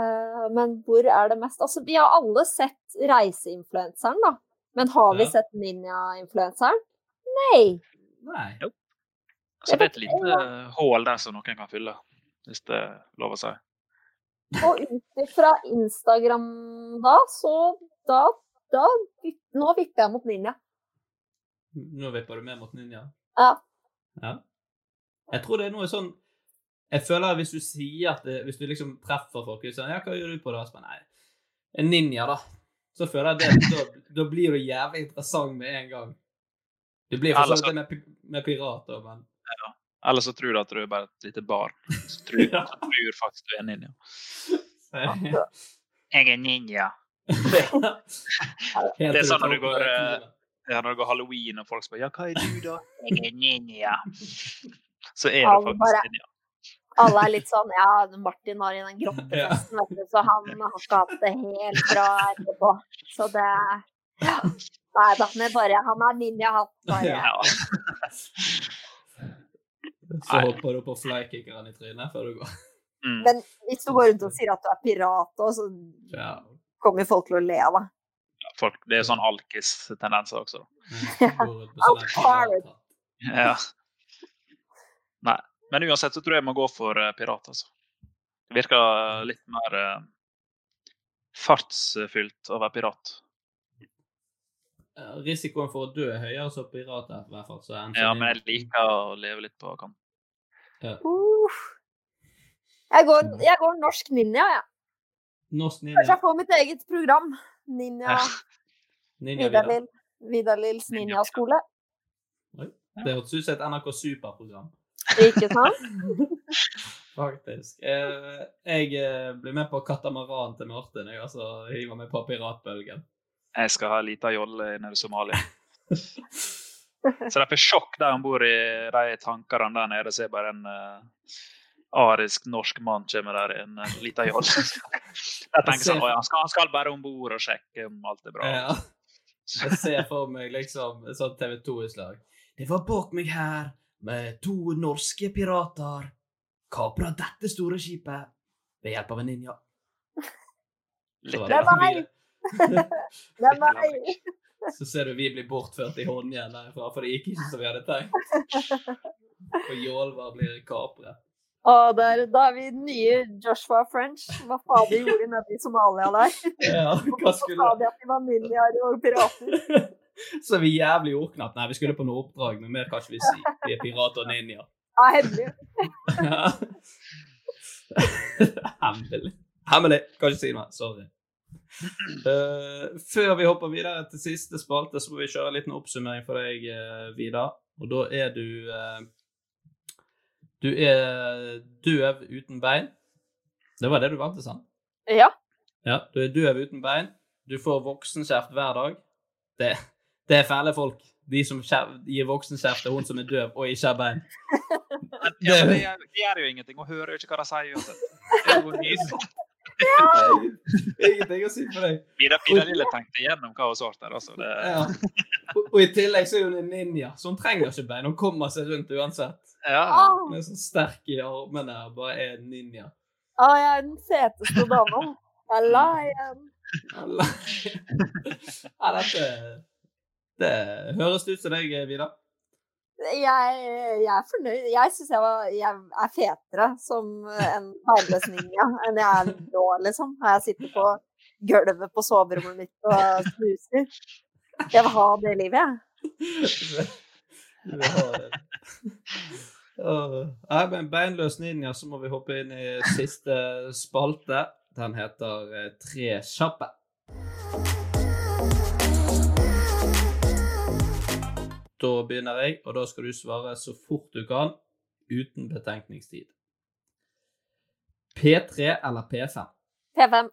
Speaker 5: Eh, men hvor er det mest Altså, vi har alle sett reiseinfluenseren, da. Men har vi
Speaker 3: Ja.
Speaker 5: sett ninja-influenseren? Nei.
Speaker 3: Nei.
Speaker 4: Så det er et lite hull der som noen kan fylle, hvis det er lov å si.
Speaker 5: Og ut ifra Instagram da, så da, da Nå vipper jeg mot ninja.
Speaker 3: Nå vipper du mer mot ninja.
Speaker 5: Ja.
Speaker 3: Ja. Jeg tror det er noe sånn Jeg føler at hvis du sier at det, Hvis du liksom treffer folk og sier ja, 'Hva gjør du på da?' Så bare, Nei, en ninja, da. Så føler jeg det Da, da blir du jævlig interessant med en gang. Du blir for så
Speaker 4: Ellers-
Speaker 3: vidt det med, pi- med pirater, men
Speaker 4: Eller så tror du at du er bare et lite barn. Så tror,
Speaker 3: Ja.
Speaker 4: så tror faktisk du er ninja.
Speaker 3: Ja.
Speaker 4: Jeg er ninja.
Speaker 3: Helt
Speaker 4: Det er sånn
Speaker 3: til tar opp
Speaker 4: når du går,
Speaker 3: den kniven.
Speaker 4: Ja, når det går halloween og folk spør ja, hva er du da? Jeg er ninja. Så er
Speaker 5: Ja,
Speaker 4: du
Speaker 5: men
Speaker 4: faktisk
Speaker 5: bare-
Speaker 4: ninja.
Speaker 5: Alle er litt sånn Ja, Martin var i den
Speaker 3: Ja.
Speaker 5: grottefesten, vet du, så han har ikke hatt det helt bra etterpå. Så det ja. Nei da, men bare Han har ninja-hatt, bare.
Speaker 3: Ja.
Speaker 4: Ja.
Speaker 3: Så hopper du på flykickeren i trynet før du går.
Speaker 4: Mm.
Speaker 5: Men hvis du går rundt og sier at du er pirat òg, så
Speaker 3: Ja.
Speaker 5: kommer jo folk til å le av deg.
Speaker 4: Folk, det er sånn alkis-tendenser også.
Speaker 3: Går rundt med sånn en
Speaker 5: Pirate.
Speaker 3: pirathatt.
Speaker 4: Ja. Nei. Men uansett så tror jeg jeg må gå for eh, pirat, altså. Det virker litt mer eh, fartsfylt å være pirat.
Speaker 3: Ja, Eh, Risikoen for å dø er høyere som pirat, i hvert fall. Så enn
Speaker 4: Ja,
Speaker 3: som
Speaker 4: men jeg
Speaker 3: ninja.
Speaker 4: liker å leve litt på kant.
Speaker 5: Uff. Jeg går,
Speaker 3: Mm.
Speaker 5: jeg går norsk ninja, jeg.
Speaker 3: Norsk
Speaker 5: Kanskje
Speaker 3: ninja.
Speaker 5: jeg får mitt eget program. Ninja
Speaker 3: ninja Vidar.
Speaker 5: Vidalil. Vidalils ninjaskole.
Speaker 3: Det hørtes ut som et NRK Super-program.
Speaker 5: Ikke sant?
Speaker 3: Faktisk. Eh, jeg eh, blir med på katamaran til Martin, jeg, altså. Hiver meg på piratbølgen.
Speaker 4: Jeg skal ha ei lita jolle nede i Somalia. Så de får sjokk der han bor i de tankene der nede, så er bare en eh, arisk norsk mann kommer der i en uh, lita jolle. Jeg tenker sånn, «Å ja, han skal, han skal bare om bord og sjekke om alt er bra.
Speaker 3: Ja. Jeg ser for meg liksom et sånt TV 2-utslag. Det var bak meg her med to norske pirater. Kapra dette store skipet ved hjelp av en ninja. Så
Speaker 4: Litt
Speaker 3: var
Speaker 5: Det
Speaker 3: det
Speaker 5: var
Speaker 3: mye.
Speaker 5: Det er meg.
Speaker 3: Så ser du vi blir bortført i håndjern derfra, for det gikk ikke som vi hadde tenkt. Og Jålvar blir kapret.
Speaker 5: Å, der, da er vi nye Joshua French. Hva faen de gjorde nede i Somalia der?
Speaker 3: Ja, hva
Speaker 5: Hvorfor
Speaker 3: skulle
Speaker 5: sa de at de var ninjaer og pirater?
Speaker 3: Så vi er jævlig ordknapt. Nei, vi skulle på noe oppdrag, men mer kan ikke vi si. Vi er pirater og ninja.
Speaker 5: Ja, hemmelig.
Speaker 3: Ja. Hemmelig. Hemmelig. Kan ikke si noe. Sorry. Eh, før vi hopper videre til siste spalte, så må vi kjøre en liten oppsummering for deg, eh, Vidar. Og da er du eh, Du er døv uten bein. Det var det du vant til, sant?
Speaker 5: Ja.
Speaker 3: Ja, du er døv uten bein. Du får voksenkjeft hver dag. Det, det er fæle folk. De som kjef- gir voksenkjeft til hun som er døv og ikke har bein.
Speaker 4: Ja, men det, gjør, det gjør jo ingenting, og hører jo ikke hva de sier uansett. Det er
Speaker 3: Ingenting
Speaker 4: jo sånn. nydelig.
Speaker 3: å si for deg.
Speaker 4: Vidar Vidar Lille tenkte igjennom hva hun svarte der, altså. Det,
Speaker 3: Ja. Og, og i tillegg så er hun en ninja, så hun trenger ikke bein. Hun kommer seg rundt uansett.
Speaker 4: ja.
Speaker 5: Å,
Speaker 3: Hun er så sterk i armene og bare er en ninja.
Speaker 5: å, jeg er den feteste dama. Jeg er lei igjen.
Speaker 3: Eller- Ja, dette Det høres ut som deg, Vidar.
Speaker 5: Jeg, jeg er fornøyd. Jeg syns jeg, var- jeg er fetere som en beinløs ninja enn jeg er nå, liksom. Når jeg sitter på gulvet på soverommet mitt og snuser. Jeg vil ha det livet, jeg.
Speaker 3: Du vil ha det. Åh. Nei, men beinløs ninja, så må vi hoppe inn i siste spalte. Den heter eh, Tre kjappe. Da begynner jeg, og da skal du svare så fort du kan, uten betenkningstid. P3 eller P5?
Speaker 5: P5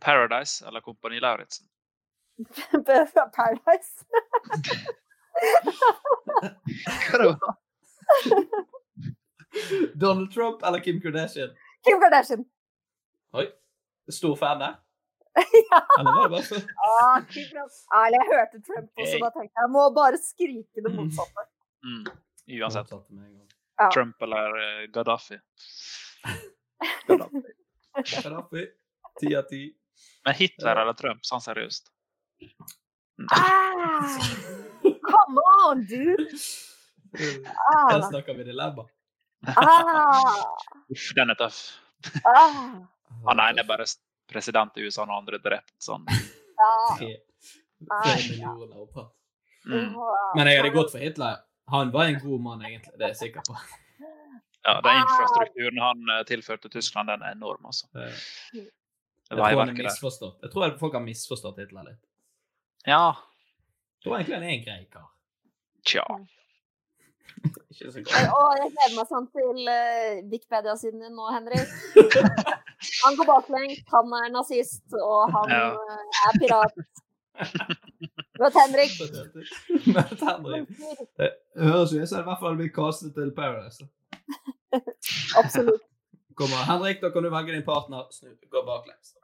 Speaker 4: Paradise eller Kompani Lauritzen?
Speaker 5: fra Paradise.
Speaker 3: Donald Trump eller Kim Kardashian?
Speaker 5: Kim Kardashian.
Speaker 3: Oi. Stor fan der?
Speaker 5: Ja.
Speaker 3: Eller var det bare for
Speaker 5: Ah, Kim Kardashian. Ah, Eller jeg hørte Trump også, da tenkte jeg jeg må bare skrike det motsatte.
Speaker 4: Mm. Uansett.
Speaker 3: Motsatte med en gang.
Speaker 5: Ja.
Speaker 4: Trump eller eh, Gaddafi.
Speaker 3: Gaddafi. Ti av ti.
Speaker 4: Men Hitler eller Trump, sånn seriøst.
Speaker 5: Ah, come on, dude!
Speaker 3: Eh, Her
Speaker 5: Ah,
Speaker 3: snakker vi dilemma.
Speaker 5: ah,
Speaker 4: Uff, den er tøff.
Speaker 5: ah,
Speaker 4: Han ene er bare s- president i USA, og den andre er drept. Sånn.
Speaker 5: ah.
Speaker 3: Tre
Speaker 5: Nei,
Speaker 3: tre millioner opphav.
Speaker 4: Mm.
Speaker 3: Men jeg hadde gått for Hitler. Han var en god mann, egentlig. Det er jeg sikker på.
Speaker 4: Ja, den infrastrukturen han eh, tilførte Tyskland, den er enorm, altså.
Speaker 3: Eh, Jeg tror han er
Speaker 4: Veiverket der.
Speaker 3: misforstått. Jeg tror folk har misforstått Hitler litt.
Speaker 4: Ja,
Speaker 3: Jeg tror egentlig han er en grei kar.
Speaker 4: tja.
Speaker 3: Ikke så
Speaker 5: Nei,
Speaker 3: god.
Speaker 5: Å, jeg gleder meg sånn til uh, Wikipedia-siden din nå, Henrik. Han går baklengs, han er nazist, og han
Speaker 4: Ja.
Speaker 5: eh, er pirat. Vet Henrik.
Speaker 3: Men Henrik, det høres jo ut som det i hvert fall blir kastet til Paradise. da.
Speaker 5: Absolutt.
Speaker 3: Kommer Henrik, da kan du velge din partner. Snu, gå baklengs.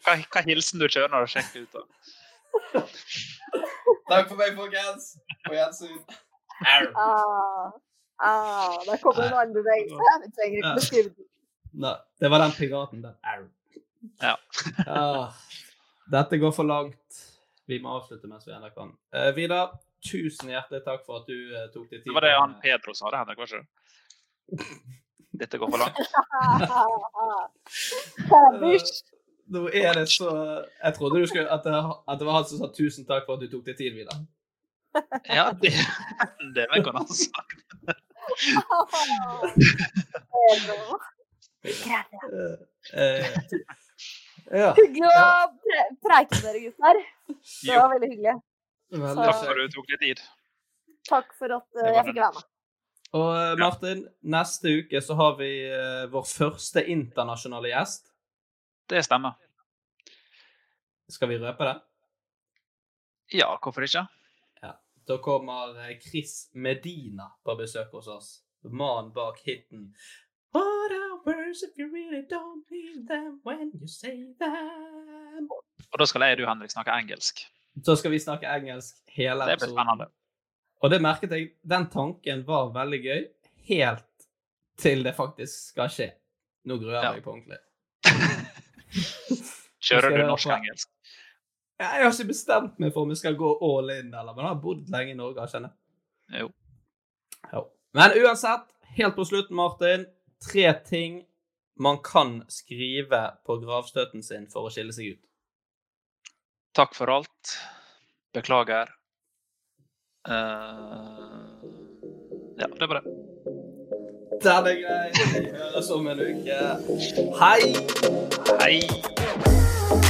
Speaker 4: Hva, hva hilsen du kjører når du sjekker ut? da?
Speaker 3: Takk for meg, folkens. På gjensyn.
Speaker 5: Ah, ah, der kommer en annen bevegelse. Vi trenger ikke
Speaker 3: Ja.
Speaker 5: beskrive den.
Speaker 3: Nei, det var den piraten, den Arrow.
Speaker 4: Ja.
Speaker 3: Ah, dette går for langt. Vi må avslutte mens vi ennå kan. Eh, Vidar, tusen hjertelig takk for at du eh, tok deg tid.
Speaker 4: Det var det han Pedro sa, det, Henrik, var ikke det? Dette går for langt.
Speaker 5: Ah, ah, ah. Fabers.
Speaker 3: Nå er det så Jeg trodde du skulle, at, det, at det var han som sa tusen takk for at du tok deg tid, Vidar.
Speaker 4: Ja, det, det vet han altså.
Speaker 5: Pedro.
Speaker 3: Eh, eh, ja.
Speaker 5: Hyggelig å pre preike med dere, gutter. Det
Speaker 4: Jo,
Speaker 5: var veldig hyggelig.
Speaker 3: Veldig
Speaker 4: takk
Speaker 5: Så-
Speaker 4: for at du tok deg tid.
Speaker 5: Takk for at eh,
Speaker 4: Det var
Speaker 5: jeg fikk være med.
Speaker 3: Og eh, Martin, neste uke så har vi eh, vår første internasjonale gjest.
Speaker 4: Det stemmer.
Speaker 3: Skal vi røpe det?
Speaker 4: Ja, hvorfor ikke?
Speaker 3: Da kommer eh, Chris Medina på besøk hos oss. Mannen bak hiten What are words if you really don't mean them when you say them?
Speaker 4: Og da skal jeg og du, Henrik, snakke engelsk.
Speaker 3: Så skal vi snakke engelsk hele
Speaker 4: Det blir
Speaker 3: episoden.
Speaker 4: spennende.
Speaker 3: Og det merket jeg, den tanken var veldig gøy, helt til det faktisk skal skje. Nå gruer jeg
Speaker 4: Ja.
Speaker 3: meg på ordentlig.
Speaker 4: Kjører
Speaker 3: Skal
Speaker 4: du
Speaker 3: jeg
Speaker 4: norsk
Speaker 3: på-
Speaker 4: og engelsk?
Speaker 3: Jeg har ikke bestemt meg for om jeg skal gå all in, eller, men jeg har bodd lenge i Norge, jeg kjenner
Speaker 4: Jo.
Speaker 3: Ja. Men uansett, helt på slutten, Martin, tre ting man kan skrive på gravstøtten sin for å skille seg ut.
Speaker 4: Takk for alt. Beklager. Eh, ja, det var det.
Speaker 3: Den er grei. Vi høres om en uke. Hei! Hei!